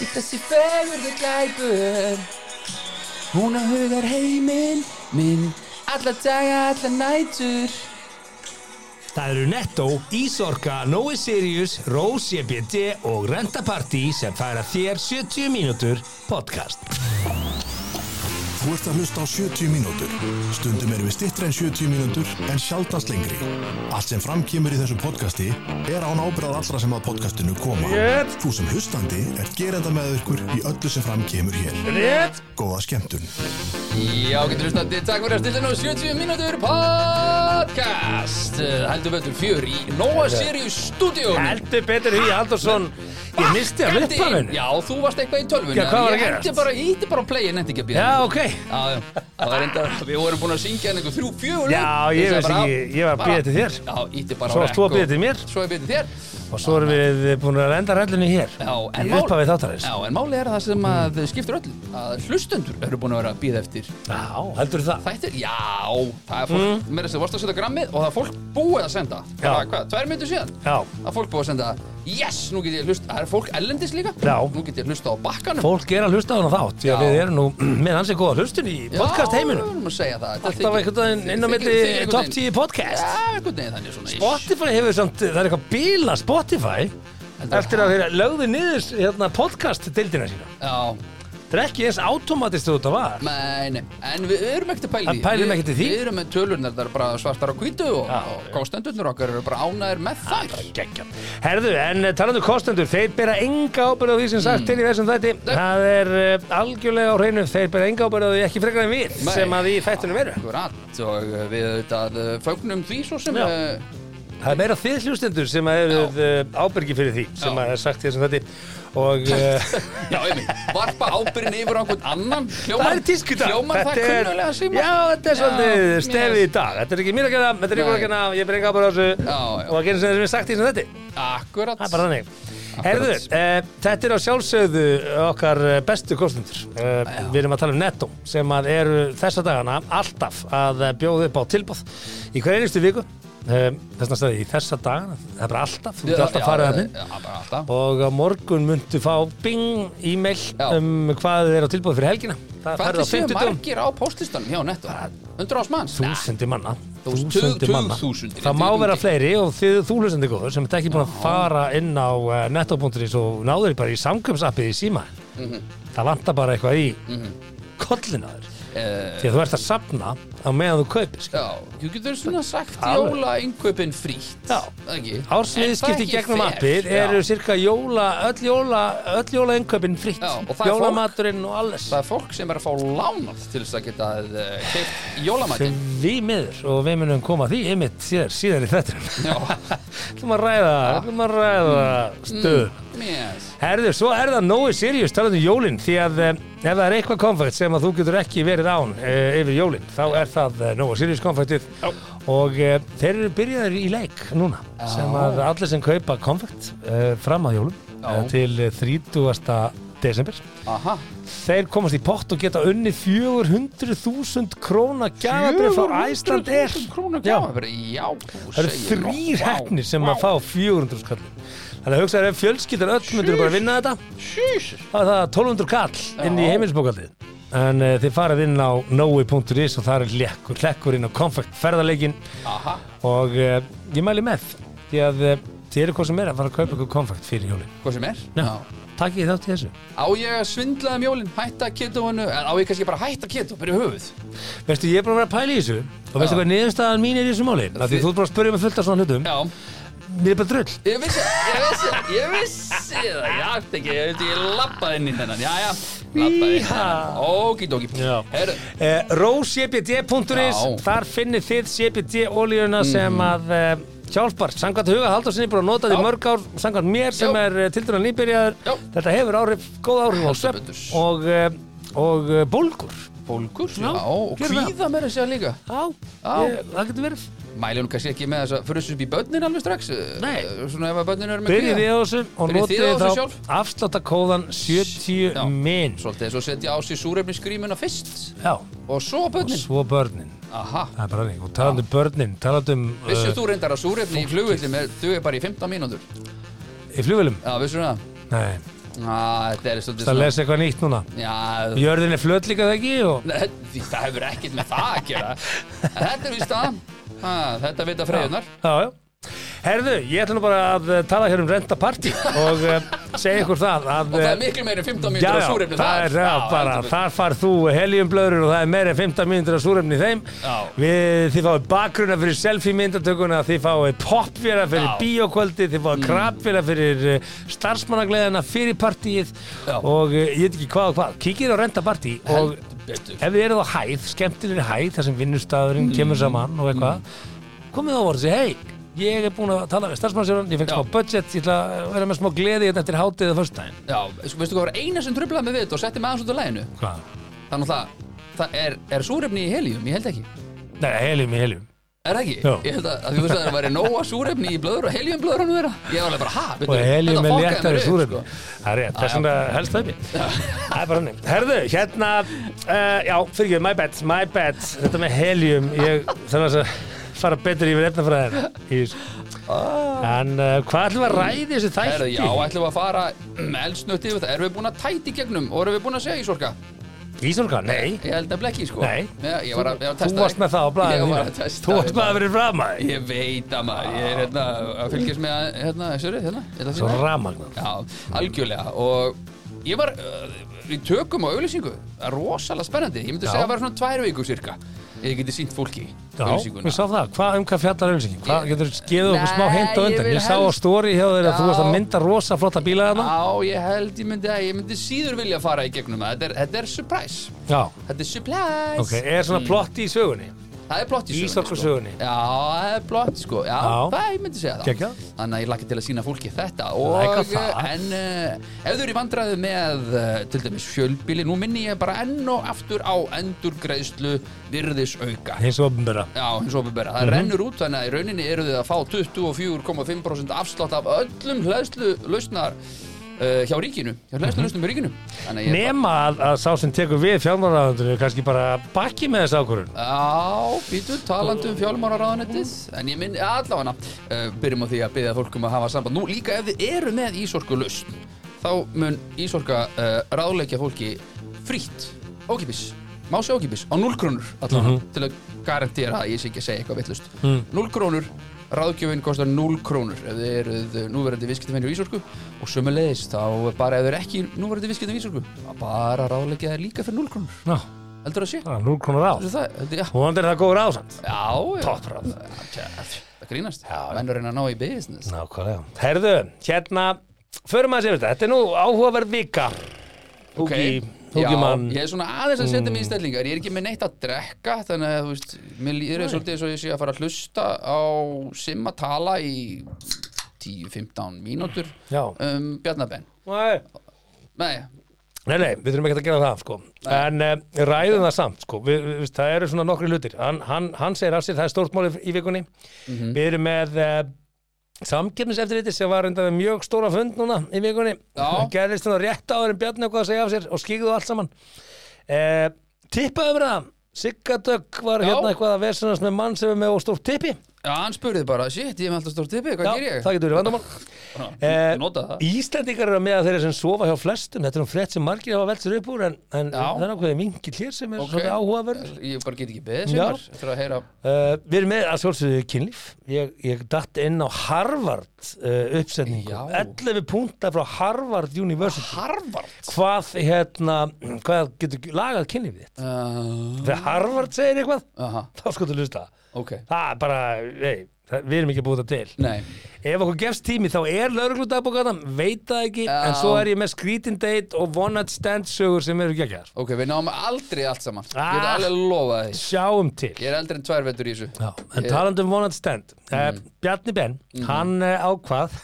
í þessi fegurðu glæpur Hún á hugar heiminn minn Alla daga, alla nætur Það eru Netto, Ísorka, Nói Sirius, Rose EBD og Renta Party sem færa þér 70 mínútur podcast. Þú ert að hlusta á 70 mínútur. Stundum erum við stittri en 70 mínútur en sjaldast lengri. Allt sem framkýmur í þessu podcasti er án ábyrðað allra sem að podcastinu koma. Rétt. Þú sem hlustandi er gerenda með ykkur í öllu sem framkýmur hér. Rétt Góða skemmtun. Já, getur hlustandi, takk fyrir að stilla ná 70 mínútur podcast Eh, Heldur betur fjör í Nóa Sirius stúdíónu Heldur betur því Haldursson Ég misti að Hendi- lippa henni Já, þú varst eitthvað í tölvunni Já, hvað var að Ég gerast? hendi bara, ég hitti bara á play, en hendi ekki að bíða Já, ok Já, já, það var enda, við vorum búin að syngja hann einhver þrjú, fjögur lög. Já, ég sagði veist bara, ekki, ég var að bara- bíða til þér. Já, ítti bara Svo á varst þú að rekk bíða og- til mér. Svo ég bíða til þér Og svo erum við búin að enda rellinu hér Já, en Í mál- upphafi þáttarins Já, en máli er það sem að skiptir öll að hlustendur eru búin að vera að bíða eftir Já, heldur það Þættir, já, það er fólk, mm. meira sem vorst að setja grammið og það er fólk búið að senda bara, Já. hvað, tvær myndir síðan Já, að fólk búið að senda, yes, nú get ég hlusta það er fólk ellendis líka, Já. nú get ég hlusta á bakkanum fólk er að hlusta á hana þátt Því Já. að við erum nú með hans er góða hlustun í podcast heiminum Já, segja það þetta Alltaf þykir- einhvern veginn inn þykir- á milli þykir einhvern top veginn- 10 podcast Já, einhvern veginn þannig svona Spotify hefur samt, það er eitthvað bíla Spotify Heldur Eftir að þeir lögðu niður hérna, podcast dildina sína Já, Það er ekki eins automatist þú þetta var Nei, nei, en við erum ekkert að pæla í En pælum Við- ekkert í því? Við erum með tölurnar, það er bara svartar á hvítu og, Já, og já. kostendurnir okkar eru bara ánæðir með þær Gekja. Herðu, en eh, talandi um kostendur, þeir bera enga ábyrð á því sem Mm. sagt til í þessum þætti. Það er uh, algjörlega á hreinu, þeir bera enga ábyrð á því ekki frekar en við Nei. sem að í fættunum eru. Akkurat, og uh, við auðvitað uh, fögnum því svo sem Já. uh, Það er meira þið hlustendur sem að eru uh, ábyrgi fyrir því sem Já. að er sagt í þessum þætti. Og uh, Já, ég minn, varpa ábyrðin yfir á einhvern annan hljómar, það er tísku í dag. Hljómar það Þetta er- kunnulega sem Já, þetta er svolítið Já, stefið mér- í dag. Þetta er ekki mér að gera, þetta er ykkur að Nei. gera, ég bera enga ábyrð á þessu Já, já. og að gera sem er sagt í þessum þætti. Akkurat Það er bara þannig. Herðu, uh, þetta er á sjálfsögðu okkar eh, bestu kostendur. Uh, við erum að tala um Netto sem að eru þessa dagana alltaf að eh, bjóða upp á tilbáð í hver einustu viku. Uh, þessna staði í þessa dagana, það er bara alltaf, þú ert alltaf farið að minn. Já, bara alltaf Og á morgun muntu fá bing, e-mail Já. um hvað þið eru á tilbúð fyrir helgina. Það Hvað er færði á það séu 50 dagum. margir á postlistanum hjá netto? Undur ás manns? Þúsundir manna, Þús- þúsundir tug- manna. tugþúsundir, Það má tugþúsundir. vera fleiri og þið, þú hlustandi góður sem ert ekki búin að fara inn á uh, netto.is og náður bara í samkjömsappið í síma Mhm. Það vantar bara eitthvað í mm -hmm. kollinaður Eh, því að þú ert að safna á meðan þú kaupir skilur. Já, þú getur svona sagt Það er- jóla einkaupin frítt Já. Það ekki? En Ársviðskipti það er ekki gegnum fair. appið eru Já. cirka jóla, öll jóla, öll jóla innkaupin fritt, Já, og það er fólk- jólamaturinn og alles Það er fólk sem er að fá lánað til þess að geta uh, keipt jólamatinn Því miður og við munum koma að því einmitt síðar, síðar í þettunum Já, Mm. ætlum að ræða, ætlum að ræða stöðuna yes Herðu, svo er það nógu serious talað um jólinn því að eh, ef það er eitthvað konfekt sem að þú getur ekki verið án e, yfir jólinn þá er það e, nógu serious konfektið og e, þeir eru byrjaðir í leik núna sem að allir sem kaupa konfekt e, fram að jólum e, Já. til eh, 30. desember Aha, þeir komast í pott og geta unni 400.000 króna gjafabrið frá Æsland er Krónu Já. gjáfabri, já Það eru þrýr hefnir sem að fá 400 skallin. Þannig að hugsaður ef fjölskyldan öll myndur bara að vinna þetta, Sjús þá er það 1200 kall inn í heimilisbókaldið. En uh, þið farið inn á noi.is og það er lekkur, lekkur inn á konfekt ferðarleikin Aha, og uh, ég mæli með því að uh, þið eru hvað sem er að fara að kaupa ykkur konfekt fyrir jólin. hvað sem er Já. Takk ég þátt í þessu. Á ég að svindla um jólin, hætta ketóinu En á ég kannski bara að hætta ketó, byrja höfuð Veistu, ég er búin að vera að pæla í þessu og veistu Já. hvað niðurstaðan mín er í þessu máli? Af Því Þið- þú ert bara að spurja mig fullt af svona hlutum. Já, Mér er bara drull. Ég vissi, ég vissi, ég vissi það, ég ætti ekki, ég veit, ég lappaði inn í þennan, já, já, lappaði inn í Íha. þennan, okidoki. Já. Herru, Uh, Róscbd.is Já. Mhm. Þar finnir þið cbd olíuna sem að uh, hjálpar Samkvæmt huga Haldursinni búin að nota því Já. mörg ár Samkvæmt mér sem Já. er uh, til dæna nýbyrjaður Já. Þetta hefur áhrif, góð áhrif á Heldur svepp betur. og, uh, og uh, bólgur bólgur, Já, já, og gerum það. kvíða meira að segja líka. Já, Já. Ég, það getur verið Mæli hún kannski ekki með þess að fyrir þessu upp í börnin alveg strax? eh, Nei. eh, Svona ef að börnin eru með Byrjið þið á þessu og Byrjið þið á notið þessu þá sjálf? afsláttakóðan 70 Já. minn Svolítið, svo setja á sig súrefnisgrímuna fyrst Já, og svo og börnin. svo börnin Aha. Það er bara þannig, og talandi um börnin, talandi um Vissið uh, þú reyndar að súrefni í flugvillum er, þau er bara í 15 mínútur? eh, í flugvélum Já, vissir það? Nei, Já, þetta er svolítið Það lesa eitthvað nýtt núna. Já, Jörðin er flöt líka það ekki og... Nei, því Það hefur ekkert með það að gera En Þetta er víst það ha, Þetta vita freyðunar Já, já. Herðu, ég ætla nú bara að eh, tala hér um rentapartí og uh, segja ykkur það að... Og það eh, er miklu meiri en 15 Já, mínútur á já, súrefni það er já, bara, heldur betur. þar far þú heljumblöður og það er meira en 15 mínútur af súrefni í þeim Já. Við, Þið fáið bakgrunna fyrir selfie myndatökuna, þið fáið popfjara fyrir Já. Mm. bíókvöldi, þið fáið krabfjara fyrir eh, starfsmannagleðina fyrir partíið Já. og eh, ég veit ekki hvað og hvað, kíkir á renda partí og Heldur betur. ef þið eruð á hæð, skemmtilegri hæð þar sem vinnustafurinn Mm. kemur saman og eitthvað komið á orðið, hei Ég er búin að tala við starfsmannsjóran, ég fengi Já. smá budget, ég ætla að vera með smá gleði hérna eftir hátíðið að föstudaginn. Já, sko, veistu hvað var eina sem tröflaði mig við þetta og setti mig aðeins út af læginu Hvað? Þannig að það er, er súrefni í helium, ég held ekki Nei, helium í helium. Er það ekki? Já. Ég held að, að þú veist að það væri nóa súrefni í blöður og heliumblöðurinn vera Ég var alveg bara, ha, og betur, heljum fokkaði er mér léttari upp, súrefni sko. það er rétt, þess vegna helst það upp í. það er bara hannig, herðu, hérna uh, já, fyrir ekki, my bad, my bad þetta með heljum, ég þarf aðeins að fara betur yfir efnafræðina í þessu en uh, hvað ætlum við að ræði þessu Ah. Herðu, þætti já, ætlum við að fara elsnötti yfir það Erum við búin að tæti gegnum og erum við búin að segja í sorka? Ísorka, nei Ég held nefnilega ekki, sko Nei. Já, ég var að, ég var að þú testa varst með það á Ég blæðinu var að testa þú varst þetta. með að vera fram að Ég veit að maður, ég er hérna að fylgjast með að, hérna, þessu, hérna, hérna, svo hérna. ramagn Já, algjörlega og ég var, uh, við tökum á auðlýsingu, það er rosalega spennandi, ég myndi Já. segja að það var svona tvær vikur cirka, ég geti sínt fólki Já, við sá það, hvað um hvað fjallar auðlýsingin? Hvað Ég- getur gefið okkur smá hint á Nei, ég undan? vil Ég sá á helst- stóri hjá þér að þú Já. varst að mynda rosa flotta bíla þarna. Já, ég held, ég myndi, ég myndi síður vilja fara í gegnum það, þetta er, þetta er surprise, Já, þetta er surprise, ok, er Mm. svona plotti í sögunni? það er plott í Í sögunni, sko. sorkusögunni. Já, það er blott sko, já, Já. það ég myndi segja það Geggjað. Þannig að ég lakka til að sína fólki þetta Læka og, það. En uh, ef þú eru í vandræðu með uh, til dæmis fjölbíli, nú minni ég bara enn og aftur á endurgreiðslu virðisauka hins ofnbara Já, hins og bera, Mhm. það rennur út þannig að í rauninni eru þið að fá 24,5% afslátt af öllum hlæðslu lausnar uh, hjá ríkinu, hjá hlæðslu lausnum hjá ríkinu Þannig að ég Mhm. nema að, að sá sem tekur við fjármálaráðundinu kannski bara bakki með þessu ákvörðun Já, býtu, talandi um fjálmáraráðanettið En ég minn, allavega uh, Byrjum á því að byrja fólk um að hafa samband Nú líka ef þið eru með Ísorku lausn Þá mun Ísorka uh, ráðleikja fólki frítt Ókipis, má sé ókipis Á 0 krónur allavega Til að garantera að ég sé ekki að segja eitthvað vittlust 0 krónur, ráðgjöfin kostar 0 krónur Ef þið eruð eh, núverandi viðskiptafinn í Ísorku Og sömulegis, þá bara ef þið eru ekki núverandi viðskiptafinn í Ísorku þá Bara ráðleikja þær líka fyrir 0 krónur Ná, Heldur það sé? bara 0 krónur á Heldur það, heldur, já og hann er það góður ásand Já, já. Toppráð. Já, Það grínast Já, já. Menn er að reyna að ná í business Nákvæmlega Herðu, hérna, förum að sér þetta þetta er nú áhugaverð vika Húki, Mm. Já, húki mann ég er svona aðeins að setja mig í stellingar Ég er ekki með neitt að drekka Þannig að þú veist Mér líður svolítið eins og ég sé að fara að hlusta á Simma tala í 10-15 mínútur Já, um Bjarnabenn nei, Nei, nei, nei, við þurfum ekki að gera það sko. en uh, ræðum það samt sko. við, við, veist, það eru svona nokkri hlutir hann, hann, hann segir af sér, það er stórt mál í, í vikunni Mhm. við erum með uh, samkefniseftirliti sem var undan við mjög stóra fund núna í vikunni Já. Það gerðist þannig rétt áður en Bjarni eitthvað að segja af sér og skýgðu allt saman eh, tippaðu mér það Sigga Dögg var Já. hérna eitthvað að vesunast með mann sem er með og stórt tippi já, hann spurði bara Shit, ég er með alltaf stórt tippi, hvað ger ég? það getur verið vandamál Ég Eh, nota það Íslendingar eru með þeirra sem sofa hjá flestum þetta er um frett sem margir hafa velt sér upp úr en, en Já. það er ákveðið mingill hér sem er Ok. svona áhugaverð Ég bara get ekki beðið Já. sumar Eftir að heyra Uh, við erum með að sjálfsögðu kynlíf ég, ég datt inn á Harvard uh, uppsetningu, Já. 11 púnta frá Harvard University Harvard hvað hérna hvað getur lagað kynlífið þitt uh, þegar Harvard segir eitthvað, Aha, þá skoðu lusta ok það er bara, ei, það, við erum ekki búið það til Nei, ef okkur gefst tími þá er laurugludagbókana veit það ekki, Já. en svo er ég með skrítin date og one night stand sögur sem eru geggar Ok, við náum aldrei allt saman Ég er Ah. alveg lofað því sjáum til Ég er eldri en tvær vetur í þessu Já, en talandi um one night stand mm. Bjarni Ben, hann uh, ákvað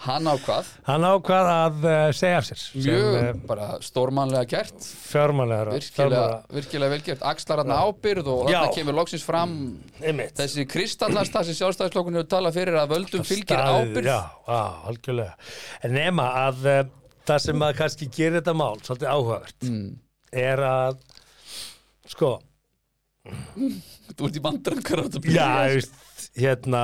Hann ákvað, hann ákvað að uh, segja af sér mjög sem uh, bara stórmannlega gert fjármálega Virkilega, virkilega vel gert Axlar hann ábyrð og Já. þarna kemur loksins fram einmitt Þessi kristallast það sem sjálfstæðislokkun hefur talað fyrir að völdum fylgir Staðið, ábyrð já, á, algjörlega en nema að uh, það sem að kannski gerir þetta mál svolítið áhugavert er að sko, Þú ert í vandræðum hvað þú ert að já, byrja. veist, hérna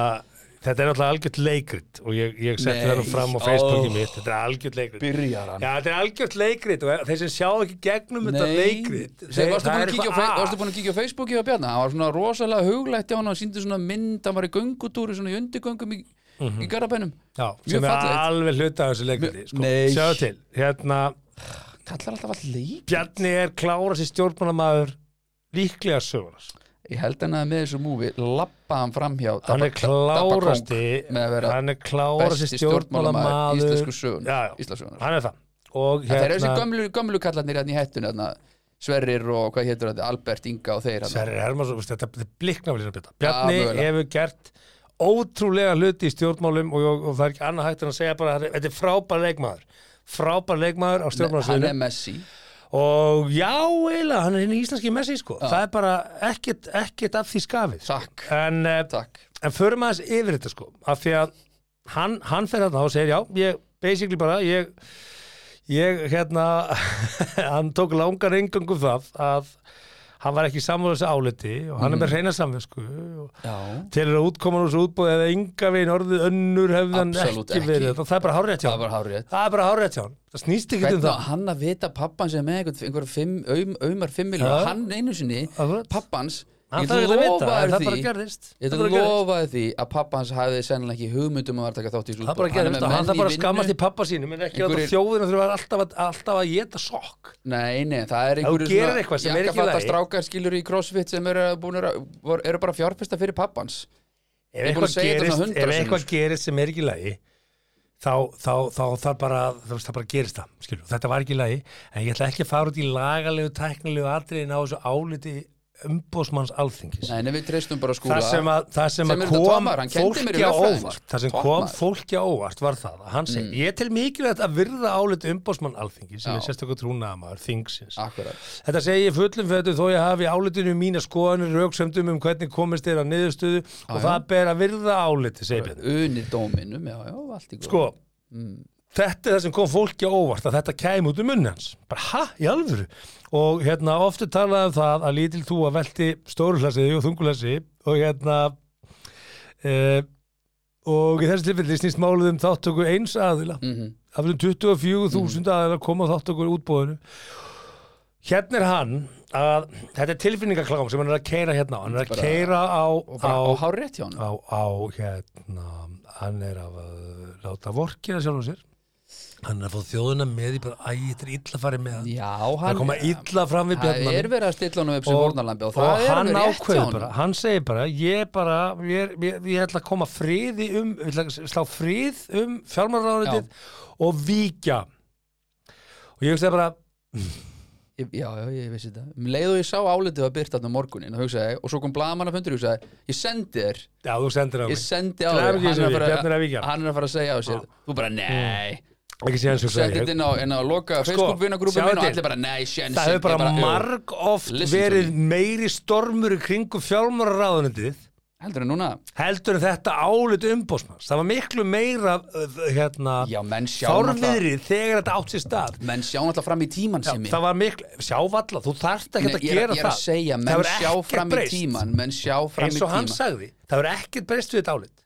Þetta er alltaf algjört leikrit og ég, ég setti Nei. það nú fram á Facebooki Ó. mitt Þetta er algjört leikrit Byrjar hann. Já, þetta er algjört leikrit og þeir sem sjá ekki gegnum þetta leikrit Þegar varstu það búin er að kíkja á eitthvað fe- að. varstu búin að kíkja á Facebooki á Bjarna hann var svona rosalega huglætt hjá hann og síndi svona mynd, hann var í göngutúri svona í undirgöngum í, Mhm. í garabænum Já, Mjög sem er fallegt. alveg hluta af þessu leikriti Mjög- sko. Nei. Sjáðu til, hérna kallar alltaf all leik Bjarni er klára sér stjórnmálamaður líklega sögunas ég held hann að með þessu múfi lappa hann fram hjá hann er klárasti með að vera hann er klárasti besti stjórnmálamaður stjórnmálamaður íslensku sögunar- Já, já. Íslandssögunar. hann er það og það eru hérna, þessi gömlu, gömlu kallarnir hérna í hættunni hérna, Sverrir og hvað hétur þetta Albert Inga og þeir hérna. Sverri Hermansson, veist, þetta er bliknað Bjarni mögulega. hefur gert ótrúlega hluti í stjórnmálum og, og, og það er ekki annað hægt en að segja bara að þetta er frábær leikmaður frábær leikmaður á hann er stjórnmálasviðinu Messi og já, eiginlega, hann er hinn í íslenski messi sko. það er bara ekkert, ekkert af því skafið takk, en, eh, takk en förum aðeins yfir þetta sko af því að hann, hann fer þarna og segir já, ég basically bara ég, ég hérna hann tók langan engangum það að hann var ekki sammála þessu áliti og hann er Mhm. með reyna samvisku og Já. telur að útkoman úr þessu útbúið eða enga veginn orðið önnur hefði hann Absolutt ekki ekki. verið þetta. það er bara hárið hjá það hann var hárið það er bara hárið hjá hann, það snýst ekki um Hvernig á það hann að vita pappan sem er með einhver, einhver fimm, aum, aumar 5 miljónar, Já. hann einu sinni Akkurat. pappans, hann ég þarf þú ekki að vita, en lofaði það bara því gerðist ég það þú bara gerðist lofaði því að pappans hafði sennilega ekki hugmyndum að vera að taka þátt í það bara sútból gerðist og hann þarf bara að skammast í pappa sínum en ekki Einhverjir- að þjóðina þurfa alltaf að, alltaf að geta sokk Nei, nei, það er einhverju gerir eitthvað sem er ekki í lagi. strákar skilur í crossfit sem eru, búnir að, voru- eru bara fjárfesta fyrir pappans ef Ég er búinn að eitthvað segja þetta gerist, svona hundrað ef sinnum, eitthvað sko. gerist sem er ekki í lagi þá, þá, þá, þá bara, þú veist, það bara gerist það skilur. þetta var ekki í lagi en ég ætla ekki að fara út í lagalegu, teknilegu atriðin á þessu áliti umbósmanns alþingis Nei, nei, við treystum bara skúla það sem að, það sem Sem að er þetta kom toppmaður, hann kenndi mér í fólki á lögfræði, óvart það sem kom toppmaður. fólki á óvart var það að hann segi, ég tel mikilvægt að virða áliti umbósmann alþingis sem Mm. Já. er sérstaklega trúnaðamaður þingsins Akkurat, Þetta segi ég fullum fötu þó ég hafi í álitinu mína skoðanir rauksöndum um hvernig komist þeirra niðurstöðu og já. það ber að virða áliti, segir Björn. unir dóminum, já, já, allt í góð Sko, Mm. þetta er það sem kom fólki á óvart að þetta kæm út um munni hans. Bara, ha, í alvöru? Og hérna, oftu talaði um það að lítil þú að velti stóruhlasiði og þunguhlasi og hérna... E og í þessu tilfelli snýst málið um þáttöku eins aðila Mhm. af þeim 24.000 mm. aðeins að koma á þáttökur útbóðinu hérna er hann að þetta er tilfinningaklám sem hann er að keira hérna á. hann er að Bara- keira á, Og á, bara á hár rétt hjá hann á, á hérna hann er að uh, láta vorkina sjálfum sér hann er að fá þjóðuna með í bara æ, þetta er illa farið með hann Já, það er að hann koma illa fram við Það er bjarnan verið að stilla hann upp sem vornalambi og það og er hann alveg rétt hjá ákveður honum. bara, hann segir bara ég bara, ég, ég, ég ætla að koma friði um, ég ætla að slá frið um fjármálaráðunitið og víkja og ég hugsaði bara, Ég- Já, já, ég vissi þetta. Um leið og ég sá álitið að byrta þarna á morgunin og hugsaði, og svo kom blaðamann að fundur og hugsaði, ég sendi þér, já þú sendir á ég mig sendi á Glæður þér, ekki hann er að þessu við, Bjarni Mm. er fara að víkja. hann er að fara að segja á sér. Þú bara, nei, ekki síðan svo sendi þetta segir inn á, inn á loka Facebook-vinagrúpi sjáðu minn og til. allir bara, nei, sjensin. Sko, það hefur bara, Ég jú, marg oft Listen to verið meiri stormur í kringu fjármálaráðunitið Heldur en núna? heldur en þetta álut umbósmanns það var miklu meira uh, hérna, Já, menn sjá um náttúrulega- þárviðrið þegar þetta átt sér stað menn sjá náttúrulega fram í tímann Já, sem ég. það var miklu, sjávalla, þú þarft ekki Nei, að ég er- gera ég er það að segja, Það menn hefur sjá ekkert fram í breyst. tímann, menn sjá fram í eins og hann tímann, sagði, það verður ekkert breyst við þetta álit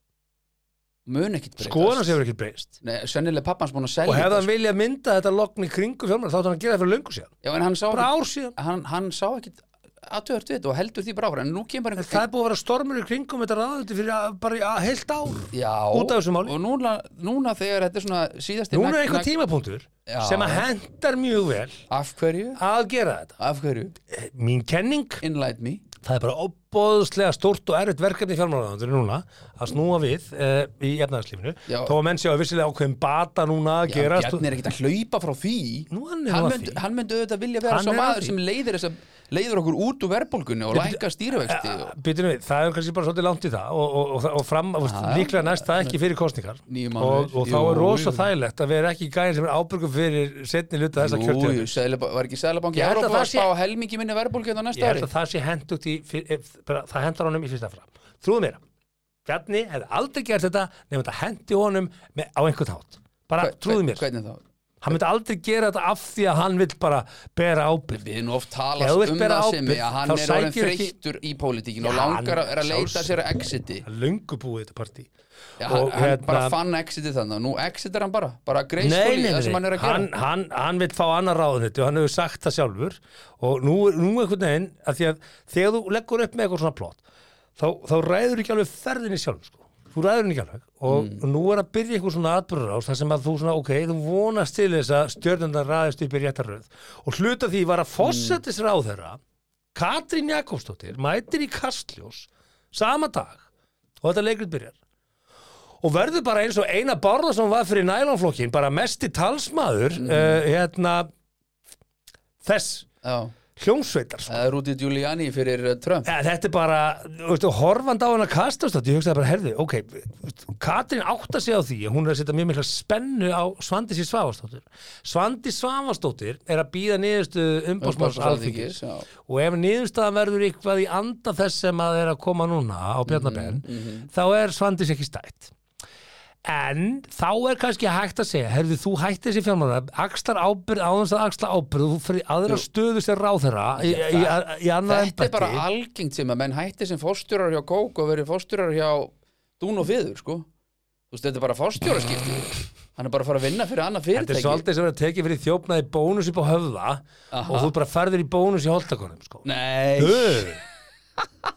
mun ekkit breytast. skoðan sem hefur ekkert breyst Nei, sennilega pappans búin að og selja hefði þetta, hann viljað mynda þetta logn í kringu fjármæður þá þátti hann að gera það fyrir löngu síðan sko. Já, en hann sá bara ekki- ár síðan, hann, hann sá ekkit aðtöðart við þetta og heldur því bara áfram en nú kemur en einhver það er búið að vera stormur í kringum þetta ráðundi fyrir að, bara í að heilt ár já, út af þessu máli. og núna, núna þegar þetta er svona síðasti núna er nagl- eitthvað nagl- tímapunktur Já. sem að hendar mjög vel af hverju, að gera þetta af hverju, Eh, mín kenning, enlight me það er bara opbóðslega stórt og erfitt verkefni fjármálaráðundur núna að snúa við uh, í efnaðarslífinu Já. þó að menn séu að vissilega ákveðin bata núna að já, gera Bjarni er ekkit að hlaupa frá því Nú, hann er hann, nú að mynd, því. hann myndi auðvitað vilja vera Hann sá er að maður því. sem leiðir, þessa, leiðir okkur út úr verðbólgunni og lækka stýrivexti og Býtum við, það er kannski bara svolítið langt í það og, og, og, og fram, veist, Já, líklega næst það ekki fyrir kostningar Níu mánuðir. og, og þá Jú, er rosa jú. þægilegt að vera ekki gæðin sem er ábyrgum fyrir setni hluta þessa Jú, jú, kjörtíðan seðlaba, var ekki Sælabanki Ég held að Európa það að sé- spá helmingi minni verðbólgu hérna á Ég næsta ári held að það sé hendugt í fyr- ef- bara, það hendur honum í fyrsta fram Trúðu mér, Bjarni hefði aldrei gert þetta nefnum þetta hendi honum með, á einhvern hátt bara Hver- trúðu mér, hvernig þá, Hann myndi aldrei gera þetta af því að hann vill bara bera ábyrð. Við erum oft Ef talast þú um vilt það bera sem ábyrgð, að hann þá er orðin sækir ekki- þreyttur í pólitíkin og Já, langar að, er að sjálfsögðu. leita sér að exiti Það er Löngu búið þetta partí. Já, hann, hann bara fann exitið þannig og nú exitir hann bara, bara hérna- Nei, greiðskóli nei, það sem hann nei, er að gera hann, hann, hann vil fá annar ráðunetti og hann hefur sagt það sjálfur og nú, nú einhvern veginn að því að þegar þú leggur upp með eitthvað svona plott þá, þá ræður ekki alveg ferðinni sjálfur sko. þú ræður henni ekki alveg og Mm. nú er að byrja eitthvað svona atbyrðarás þar sem að þú svona, ok, þú vonast til þess að stjörnundar ræðist upp í réttaröð og hluta því var Mm. að fósettis ráðherra Katrín Jakobsdóttir mætir í Kastljós sama dag og þetta leikrit byrjar og verður bara eins og Einar Bárðarsson var fyrir nælonflokkin, bara mesti talsmaður uh, hérna þess Já, hljómsveitar sko. það er Rúti Giuliani fyrir eh, Trump Eh, þetta er bara, þú veistu, horfand á hana kastastátt, ég hugsaði bara, herði, ok Katrín átta sig á því að hún er að setja mjög mikla spennu á Svandísi Svavastóttir Svandi Svavastóttir er að býða niðurstu umbásmáls Alþingis, alþingis já. og ef niðurstaðan verður eitthvað í anda þess sem að er að koma núna á Mhm, Bjarnabenn þá er Svandís ekki stætt en þá er kannski hægt að segja herðu þú hættir þessi fjármála axlar ábyrð á þess að axla ábyrð þú fyrir aðra stöðu sem ráðherra í, í, í, í annað Þetta er bara embætti algengt sem að menn hætti sem fórstjórar hjá Kók og verið fórstjórar hjá Dún og Fiður, sko Þú veist, þetta er bara fórstjóraskipti Hann er bara að fara að vinna fyrir annað þetta er fyrirtæki svolítið sem er að tekið fyrir þjófnaði bónus upp á höfða og þú bara ferðir í bónus í holtakonum sko. Nei, Ö,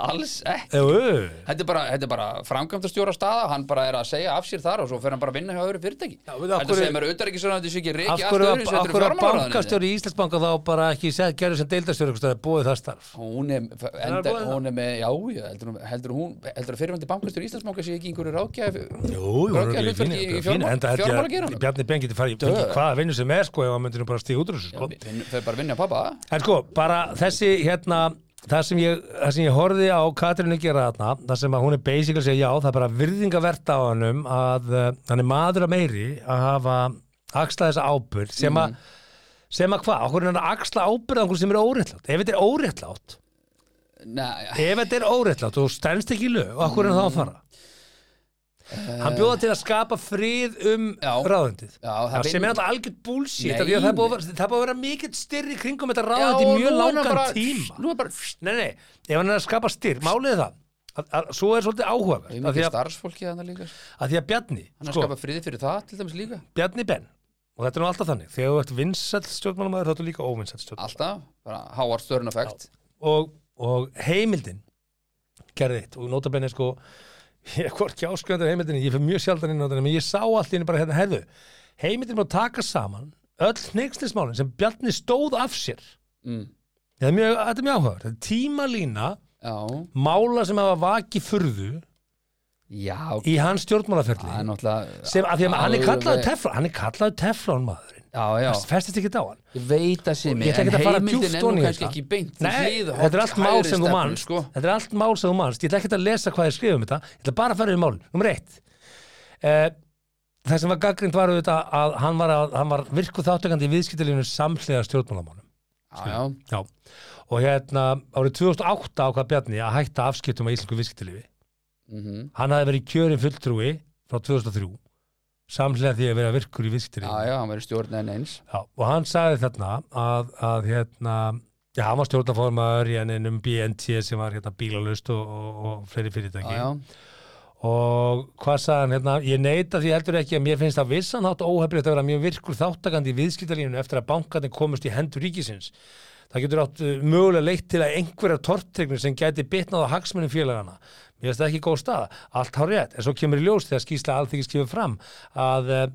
alls ekki ö, ö. Þetta er bara, þetta er bara framkvæmdastjóra staða hann bara er að segja af sér þar og svo fer hann bara að vinna hjá öðru fyrirtæki Já, við- af Þetta hverju- segir mér auðvitaðrikisráðandi sé ekki reiki af allt hverju öðru að- af hverju að bankastjóri í Íslandsbanka þá bara ekki sett- gerðu sem deildastjóri einhvers staðar, búið það starf Hún er, enda, búið það? hún er með, já, já, heldur, hún- heldur hún, heldur að fyrirvændi bankastjóri Íslandsbanka sé ekki einhverju ráðgjafi Jú, jú, Ráðgjafi hún er hlutverki í fín, fín, fjármál- enda held ég að fjármálageiranum. Bjarni Ben getur farið í Dö. hvaða vinnu sem er sko ef hann myndi nú bara stíð út úr þessu sko. Þau bara vinna pappa En sko, bara þessi hérna það sem ég, það sem ég horfði á Katrínu gera þarna, það sem að hún er basically að segja já, það er bara virðingavert á hannum að uh, hann er maður að meiri að hafa axla þessa ábyrgð sem Mm. að, sem að hvað, okkur er hann að axla ábyrgð á einhverju sem er óréttlátt ef þetta er óréttlátt, Nei, ef þetta er óréttlátt og stendst ekki í lög, okkur er hann þá að fara Hann bjóða til að skapa frið um Já. ráðundið Já, það vinn- sem er alltaf algjört Nei. búlsít það er búið að vera- það er búið að vera mikill styrri kringum þetta Já, ráðundi og mjög nú er hann langan bara- tíma Nú er bara Nei, nei, ef hann er að skapa styrr, málið er það að, að, svo er svolítið áhugavert Það er að því mikið að, starfsfólki þannig líka sko. að því að Bjarni, Hann er sko, skapað friði fyrir það til dæmis líka Bjarni Ben og þetta er nú alltaf þannig, þegar þú ert vinsæll stjórnmálamaður þá ertu líka óvinsæll stjórnmálamaður Alltaf, bara háar störn effekt og, og heimildin gerði þitt og nota benni sko ég er hvorki áskjöndar heimildinni, ég fyrir mjög sjaldan inn á þetta en ég sá allt í henni bara hérna, herðu heimildin er búin að taka saman öll hneikslismálin sem Bjarni stóð af sér mm. þetta er mjög, þetta er mjög áhugavert, þetta er tímalína Já, mála sem hafa vakið furðu já, í hans stjórnmálaferli það er náttúrulega sem að því að hann er Alveg- kallaður teflon hann er kallaður teflon maðurinn Já, já, það festist ekki á hann ég veit að sé Ég mig ætla En ekki að fara heimildin djúpt er ofan nú í kannski þetta. ekki beint til Nei, hliðar- þetta er allt mál sem þú hægri manst stefnu, sko. þetta er allt mál sem þú manst, ég ætla ekkert að lesa hvað ég skrifa um þetta ég ætla bara að fara yfir mál, nummer eitt uh, það sem var gaggrind var auðvitað að hann var, að, hann var virku þáttökandi í viðskiptalífinu samhliða stjórnmálamánum Já, já, Já. og hérna árið 2008 ákvað Bjarni að hætta afskiptum á íslensku viðskiptalífi mhm hann hafði verið kjörin fulltrúi frá 2003 samhliða því að vera virkur í Já, viðskiptalífi já, hann verið stjórn en eins Já, og hann sagði þarna að, að hérna, já, hann var stjórnaformaður í um ennum BNT sem var hérna bílalust og, og, og fleiri fyrirtæki Já, já, og hvað sagði hann hérna, ég neita því heldur ekki að mér finnst það vissan hátt óhefnilegt að vera mjög virkur þáttakandi í viðskiptalífinu eftir að bankarnir komust í hendur ríkisins. Það getur átt uh, mögulega leitt til að einhverjar tortregnir sem gæti bitnað á hagsmunum félagana. Mér finnst það ekki góð staða, allt há rétt, en svo kemur í ljós þegar skýsla alþykis kemur fram að, uh,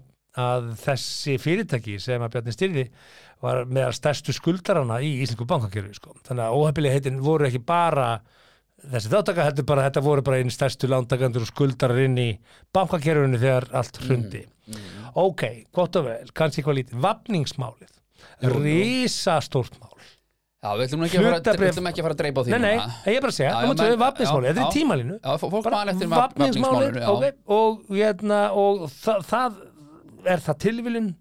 að þessi fyrirtæki sem að Bjarni styrði var meðal stærstu skuldarana í Íslingu bankakerfi. Sko. Þannig að óhefileg heitin voru ekki bara þessi þáttaka heldur bara að þetta voru bara einn stærstu lántakandur og skuldarar inn í bankakerfinu þegar allt Mm, hrundi ok, gott og vel, kannski eitthvað lítið vapningsmálið, risastórt mál já, við ætlum nú ekki að fara- Hlutabréf- við ætlum ekki að fara að dreipa á því nei, nei, núna. en ég er bara að segja, Já, já, nummer tvö, menn- vapningsmálið, já, þetta er í já. tímalínu Já, fólk bara man eftir vap- vapningsmálið vapningsmálinu, já. ok, og, hérna, og það, það er það tilvilin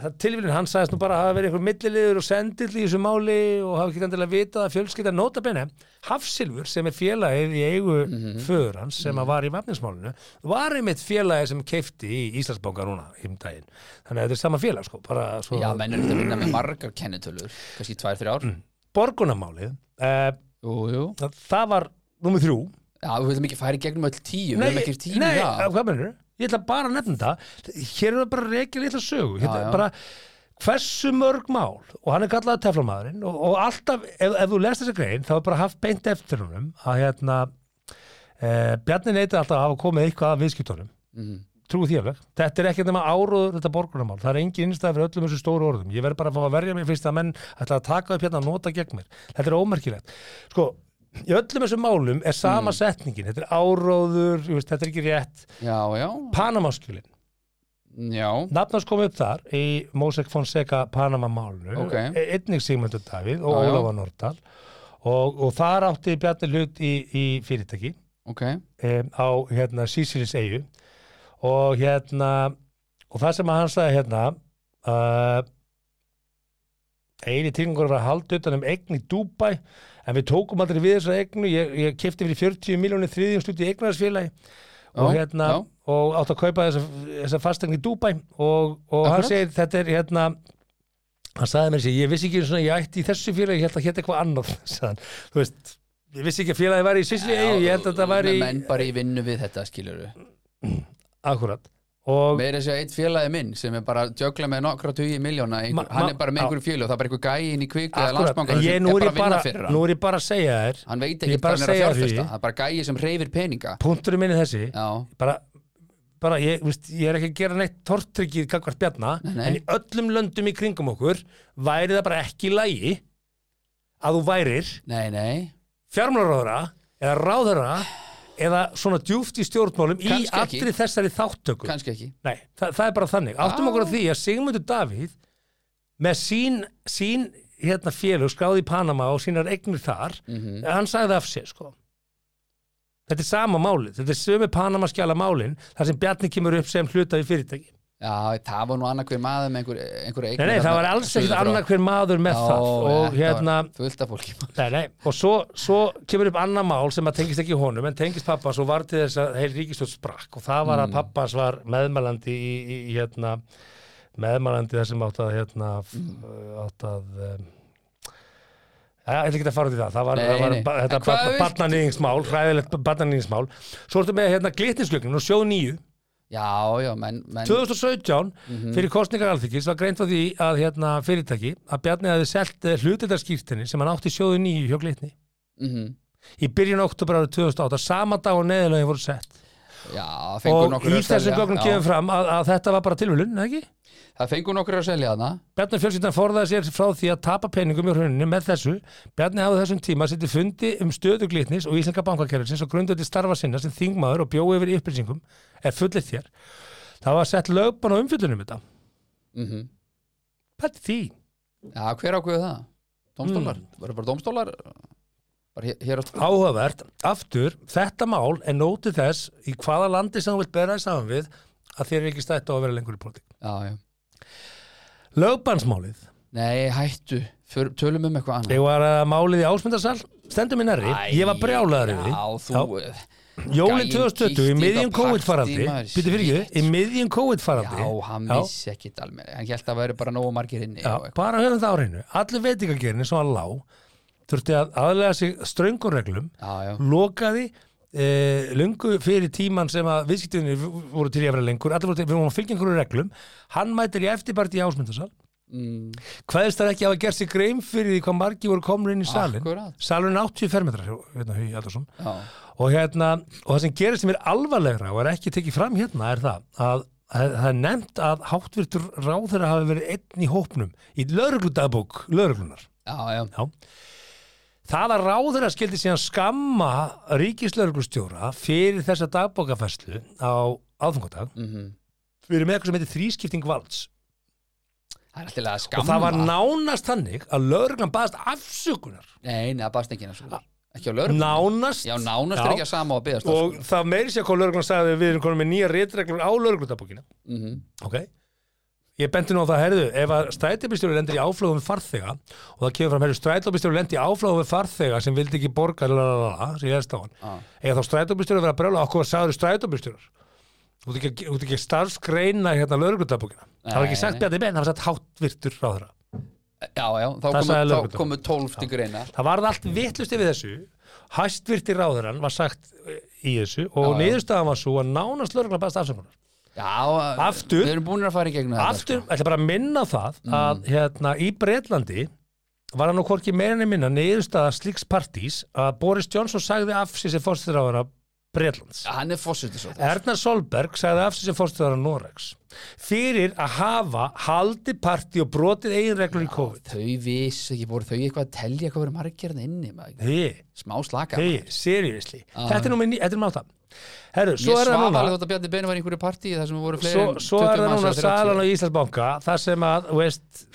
það tilvílun hann sagðist nú bara að hafa verið einhver milliliður og sendill í þessu máli og hafa ekki endilega vitað að fjölskylda notabene Hafsilfur sem er félagið í eigu Mhm. föður hans sem að var í vafninsmálinu var einmitt félagið sem keifti í Íslandsbanka núna um daginn þannig að þetta er sama félag sko, bara svo Já, menn er þetta að vinna Mm. með margar kennitölur kannski tvær, þrjár ár borgunamálið uh, Jú, jú það, það var nummer þrjú Já, við viljum ekki færi gegnum öll tíu Við viljum ekki tíu nei, já. hvað mennur? Ég ætla bara að nefna það Hér er það bara reikir litla sögu Hér Já, er já. bara hversu mörg mál og hann er kallað teflamaðurinn og, og alltaf, ef, ef þú lest þessa grein þá er bara haft beint eftir húnum að hérna e, Bjarni neyti alltaf að hafa komið eitthvað að viðskiptunum Mhm. trúi því alveg, þetta er ekkert nema áróður þetta borgunamál, það er engin innstæð fyrir öllum þessu stóru orðum, ég verð bara að fá að verja mér fyrst að menn ætla að taka upp hérna að nota gegn mér þetta er ómerkilegt, sko í öllum þessum málum Mm. er sama setningin þetta er áróður, ég veist, þetta er ekki rétt já, já, Panamaskjölin, já nafnars kom upp þar í Mosek Fonseca Panama-málnu Ok. einnig Sigmundur Davíð og Já, já. Ólafa Nordal og, og þar átti Bjarni hlut í, í fyrirtæki Ok, um, á hérna Sísilis eigu og hérna og það sem hann sagði hérna uh, eini tilgengur var að halda utan um eign í Dubai en við tókum aldrei við þessar eignu ég, ég kefti fyrir 40 miljónir þriðjum sluti í eignarsfélagi og Já, hérna já. og átt að kaupa þessa, þessa fastegn í Dubai og, og hann Akkurat. segir þetta er hérna hann sagði mér sér, ég vissi ekki einu svona, ég ætti í þessu félagi, ég held að hérna eitthvað annað sagðan, þú veist, ég vissi ekki að félagi væri í Sisli, ég held að þetta væri Menn bara í vinnu við þetta skilur Akkurat og Meira þess að eitt félagi minn sem er bara að djögla með nokkra tugi miljóna einhver, Ma- ma- Hann er bara með já. einhverju fjölu og það er bara einhver gæi inn í kviku eða akkurat, landsbankan ég, sem nú, er bara er ég að vinna bara, fyrir hann nú er ég bara að segja þér Hann veit Ég ekki er hvað hann er bara að að segja fjárfesta því. Það er bara gæi sem reyfir peninga punkturinn minni þessi Já, bara, bara ég, veist, ég er ekki að gera neitt tortryggið kakvart bjarna Nei, nei. en í öllum löndum í kringum okkur væri það bara ekki í lagi að þú værir nei, nei fjármálaráðara eða ráðara eða svona djúft í stjórnmálum í Kannski ekki. allri þessari þáttöku kannski ekki Nei, það, það er bara þannig. Ah. Áttum okkur á því að Sigmundur Davíð með sín, sín hérna, félug skráði í Panama og sínar eignir þar, Mhm. hann sagði af sér sko. Þetta er sama málið, þetta er sömu Panama skjala málin þar sem Bjarni kemur upp sem hluta í fyrirtæki. Já, það var nú annað hver maður með einhver, einhverju Nei, eignir nei, það þarna var alls ekkert suður frá. annað hver maður með Já, það og þetta var hérna, fullt af fólki Nei, nei, og svo, svo kemur upp annað mál sem að tengist ekki honum en tengist pappans og var til þess að heil ríkistjótt sprakk og það Mm. var að pappans var meðmælandi í, í, í hérna meðmælandi þar sem átt að hérna f- Mm. átt að um, Já, ég ætla ekki að fara út í það, það var, Nei, það var nei. ba- En hvað þetta viltu? barnanýðingsmál, hræðilegt barnanýðingsmál. Svo ertu með hérna glitninsglögnin og sjóð nýju, Já, já, menn, menn mhm, 2017 Mm. fyrir kostningar alþykis var greint á því að hérna fyrirtæki að Bjarni hefði selt eh, hlutildarskýrtinni sem hann átti sjóðu nýju hjá glitni Mhm. í byrjun oktober árið 2008 sama dag og neðilögin voru sett Já, fengur og nokkur í þessum gögnum kemur já. fram að, að þetta var bara tilvölun, eða ekki? Það fengur nokkur að selja hana Bjarni fjölskyldan forðaði sér frá því að tapa peningum í hruninu með þessu. Bjarni hafði á þessum tíma sitt í fundi um stöðu glitnis og Íslenska bankakerfisins og grundöði starfa sinna sem þingmaður og bjói yfir upplýsingum er fullið þér. Það var sett lögbann á umfyllunum þetta. mm Pætti því. Já, hver ákveðu það? Dómstólar? Hmm. Mm. Var bara dómstólar? Bara hér, hér átt Áhugavert, aftur, þetta mál er nótið þess í hvaða landi sem þú vilt bera í saman við að þér er ekki stætt á að vera lengur í politík. Já, já Lögbannsmálið Nei, hættu För, Tölum um eitthvað annað Ég var að málið í ásmundarsal Stendur minn erri, Æ, ég var brjálaður yfir Já, því þú Jólin gæinn 2020 í kíkti í miðjum þetta COVID-faraldi partí, maður, Býttu fyrir shit. ekki, í miðjum COVID-faraldi Já, hann vissi ekkit almenni Hann held að það væri bara nógu margir inni Já, og eitthvað. bara höfum það á reynu Allir veitingagerinu sem hann lá Þurfti að aðlega sig ströngum reglum já, já Lokaði eh, lungu fyrir tíman sem að viðskiptunni voru til í að vera lengur Allir voru til, við vorum að fylgja einhverju reglum Hann mætir í eftirparti í ásmundarsal mm, Hvaðist það ekki að hafa gert sér grein fyrir því hvað margi voru komur inn í salin Mm, Akkurat. Salurinn 80 fermetrar hjá, hérna, Hugi Aldarsson Já, og hérna, og það sem gerist sem er alvarlegra og er ekki tekið fram hérna er það að að það er nefnt að háttvirtur ráðherra hafi verið einn í hópnum í lögregludagbók lögreglunar já, já það að ráðherra skildi síðan skamma ríkislögreglustjóra fyrir þessa dagbókafæslu á aðfangadag mm við erum með eitthvað sem heitir þrískipting valds Það er alltaf að skamma og það var nánast þannig að lögreglan baðast afsökunar Nei, neða, bara stekina Ekki á lögum nánast Já, nánast er ekki að sama á að beðast og það Mhm. meiri sér hvað lögreglan sagði við erum konum með nýja réttreglur á lögreglundabókina mm -hmm. ok Ég bendi nú á það, herðu, ef að strætóbílstjóri lendir í áflóðum við farþega og það kemur fram, herðu, strætóbílstjóri lendir í áflóðum við farþega sem vildi ekki borga, lalalala, sem ég helst á hann. Ah. Eða þá strætóbílstjóri að vera að brjóla, okkur sagður strætóbílstjórar. Þú ert ekki, þú ert ekki starfsgreina hérna lögreglutabókina. Það var ekki Nei, sagt nei. bjarni menn, það var sagt háttvirtur ráðra. Já, já, þá Það komu, sagði þá lögreglan. komu 12 til greina Það varð allt vitlusti við þessu Hæstvirti ráðurann var sagt eh, í þessu og Já, já. niðurstaðan var svo að nánast lögreglan baðast afsökunar. Já, Aftur. Við erum búin að fara í gegnum þetta, Aftur, sko. Mm. ætla um- bara að minna á það að hérna í Breitlandi var hann og hvorki meirinni minna niðurstaða slíks partís að Boris Johnson sagði af sér sem fórstæðaráðara Breitlands. Já, Hann er fórsetið svo Erna Solberg sagði af sér sem fórstæðaráðara Norex fyrir að hafa haldi partí og brotið eiginreglur í COVID. Þau vissu ekki, voru þau eitthvað að telja hvað verið margir hann inni maður. Hei, Smá slaka hei, seriously. Já. Ah. Þetta er nú minni, þetta er maður það. Herru, Ég svo er það svaf núna. alveg þótt að Bjarni Beinu var í einhverju partí þar sem voru fleiri svo, en svo 20 er það manns núna eða 30. salan á Íslandsbanka þar sem að, þú veist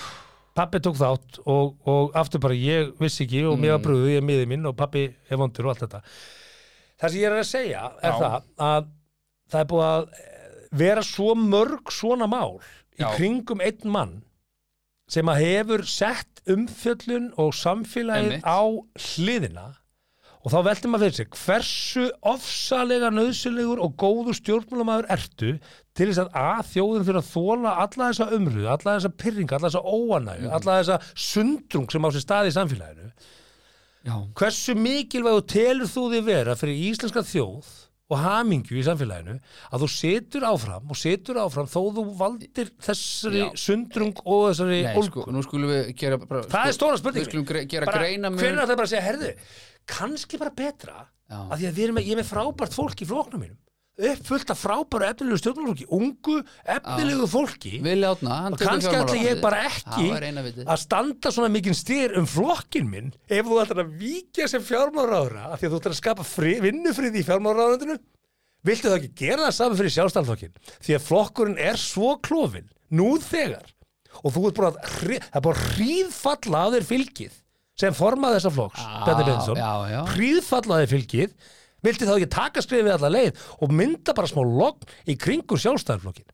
pappi tók þátt og, og aftur bara ég vissi ekki og Mm. mér var brúðu, ég er miði mín og pappi er vondur og allt þetta það sem ég er að segja er Já. það að það er búið að eh, vera svo mörg svona mál í Já. kringum einn mann sem að hefur sett umfjöllun og Einmitt. samfélagið á hliðina og þá veltum maður fyrir sig hversu ofsalega nöðsynlegur og góðu stjórnmálamæður ertu til þess að að þjóðin fyrir að þóla alla þessa umröðu, alla þessa pyrringa, alla þessa óanægu, Mhm. alla þessa sundrung sem á sér staði í samfélaginu. Já, Hversu mikilvæg og telur þú þig vera fyrir íslenska þjóð og hamingju í samfélaginu að þú setur áfram og setur áfram þó þú valdir þessari Já. sundrung og þessari nei, ólgu. sko, nú skulum við gera bara, Það er stóra Við skulum gre- spurning gera greinamun. Hvernig ætlaði bara að segja, herðu, kannski bara betra Já. að því að við erum með, ég er með frábært fólk í flóknum mínum uppfullt af frábæru efnilegu stjórnmálfólki ungu, efnilegu fólki Vili Átna hann og tekur kannski ætla fjármálaráðið. ég bara Það var eina ekki vitið. að standa svona mikinn styr um flokkin minn ef þú ætlar að víkja sem fjármálaráðra af því að þú ætlar að skapa fri, vinnufrið í fjármálaráðrandinu viltu það ekki gera það saman fyrir sjálfstæðanflokkin því að flokkurinn er svo klófin nú þegar og þú ert búin að, hri, það er búin að hríðfalla að þér fylgið sem formað þessa flokks Já, Bjarni Benediksson, já, já. hríðfalla að þér fylgið viltu þá ekki taka skrifið alla leið og mynda bara smá logg í kringum sjálfstæðanflokkin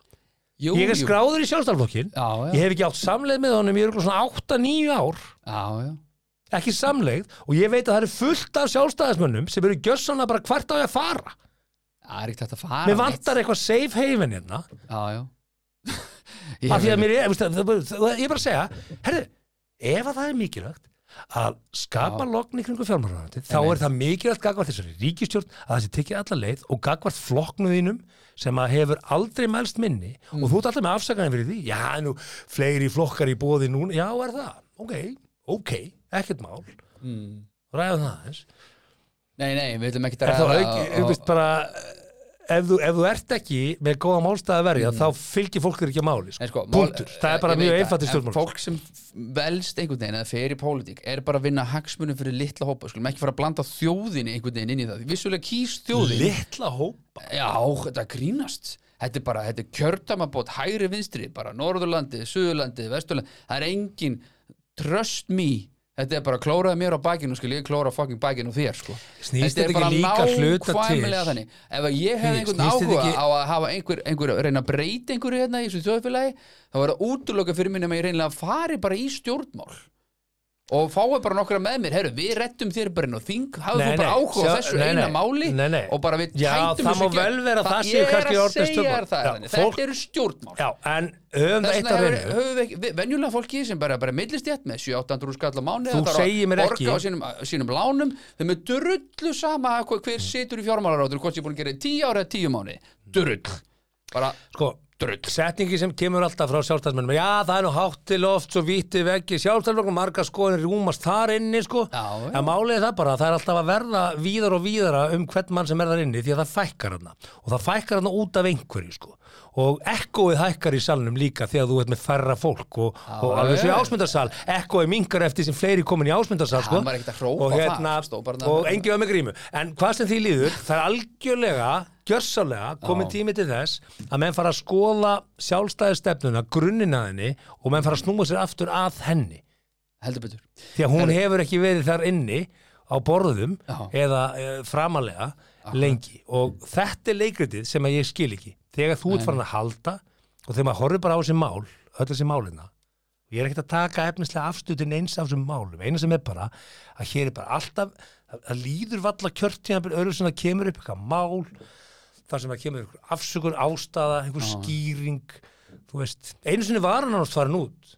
Jú, ég er jú. skráður í sjálfstæðarflokkin Já, já. ég hef ekki átt samleið með honum ég er örugglega svona 8-9 ár Já, já ekki samleið og ég veit að það eru fullt af sjálfstæðismönnum sem eru gjössanna bara hvert á ég að fara Það er ekkert hægt að fara mér neitt. vantar eitthvað safe haven hérna Já, já Ég af því veit- að mér er, veist, það, það, það, ég er bara að segja herri, ef að það er mikilvægt að skapa lokn í kringu fjármálaráðandi þá Einmitt. er það mikilvægt gagvart þessari ríkistjórn að það sé tekið alla leið og gagvart flokknu þínum sem að hefur aldrei mælst minni Mm. og þú ert alltaf með afsakanir fyrir því já, nú, fleiri flokkar í bóði núna já, er það, ok, ok ekkert mál, Mm. ræðum það aðeins Nei, nei, við ætlum ekki að En þá ræða auki, og- þú veist bara ef þú, ef þú ert ekki með góða málstæða verja þá fylgir fólk þér ekki að máli sko. Nei, Mm. sko, mál- punktur, það er bara ég veit mjög það, einfalt í en stjórnmálum fólk sem velst einhvern veginn eða fer í pólitík er bara að vinna hagsmunum fyrir litla hópa skulum ekki fara að blanda þjóðinni einhvern veginn inn í það vissulega kýs þjóðin litla hópa já, þetta grínast þetta er bara, þetta er kjördamabót hægri vinstri, bara Norðurlandið, Suðurlandið Vesturlandið, það er engin trust me, þetta er bara klóraði mér á bakinu, skil ég klóra fucking bakinu á þér, sko þetta Snýst þetta er ekki bara líka að hluta nákvæmlega til? þannig ef að ég hefði Nei, einhvern snýst þetta áhuga ekki- á að hafa einhver, einhver reyna að breyta einhverju hérna í þessu þjóðfélagi, þá er það útloka fyrir minni að ég reynilega fari bara í stjórnmál og fái bara nokkra með mér herru, við rettum þér bara inn og þing hafðu Nei, þú bara nei, áhuga á sjá- þessu nei, eina nei, máli nei, nei. og bara við Já, tætum það þessu má í gegn. vel vera að það séu ég er kannski að orðnir segja stjórnmál. þér það, Já, þannig. fólk- þetta eru stjórnmál já, en höfum það þess eitt vegna að hefur, reyna höfum við ekki, við- venjulega fólki sem bara, bara millistjætt með 7-800 skall á mánu Þú segir mér borga ekki. á sínum, sínum lánum þeim er drullu sama hver, hver situr í fjármálarátur hvort ég er búin að gera í 10 ára eða 10 mánu drull bara sko, drull setningi sem kemur alltaf frá sjálfstæðismennum já, það er nú hátti loft, svo vítti veggi sjálfstæðismennum, marga skoðin rúmast þar inni sko, Já, já. en málið er það bara að það er alltaf að verða víðar og víðara um hvern mann sem er þar inni, því að það fækkar hann og það fækkar hann út af einhverju sko og ekkoið hækkar í salnum líka því að þú ert með færra fólk og, og alveg svo í já. ásmundarsal, ekkoið mingar eftir sem fleiri komin í ásmundarsal sko hann var ekkert að hrópa og, það, hérna, stóð bara þarna. og engi var með grímu en hvað sem því líður, það er algjörlega gjörsálega komið Já. tími til þess að menn fara að skoða sjálfstæðistefnuna, grunnina henni og menn fara að snúa sér aftur að henni heldur betur því að hún hefur ekki verið þar inni á borðum Já. eða e, framalega lengi og þetta er leikritið sem að ég skil ekki þegar þú ert farin að halda og þegar maður horfir bara á þessi mál öll þessi málina og ég er ekkert að taka efnislega afstutin eins af þessum málum, eina sem er bara að hér er bara alltaf, að, að líður valla kjörtíðanbyrð öðru sem það kemur upp eitthvað mál, þar sem það kemur einhver afsökun, ástæða, Ah. einhver skýring þú veist, einu sinni var hann annars farin út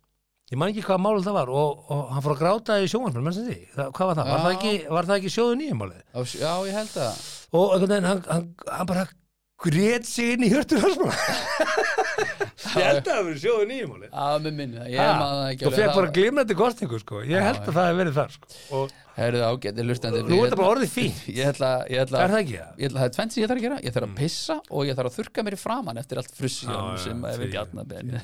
ég man ekki hvaða mál það var og, og hann fór að gráta í sjónvarpnum, mennstu því, það, hvað var það? Var það, Já. ekki, var það ekki sjóðu nýjum málið? Á s- Já, ég held að og einhvern veginn, hann, hann, hann bara grét sig inn í hjörtur hans maður. ég held að það hafi verið sjóðu nýjumáli Já, með minni það, ég maður það ekki og fekk bara glimrandi kostingu sko. ég held að það hef verið þar sko. og Herðu ágæti, lustandi nú er þetta bara orðið fín Ég ætla, ég ætla Er það ekki það? Ég ætla, það er tvent sem ég þarf að gera Ég þarf að pissa og ég þarf að þurka mér í framan eftir allt frussjónum Já, já, sem já, hefur fyrir- gjarnabenni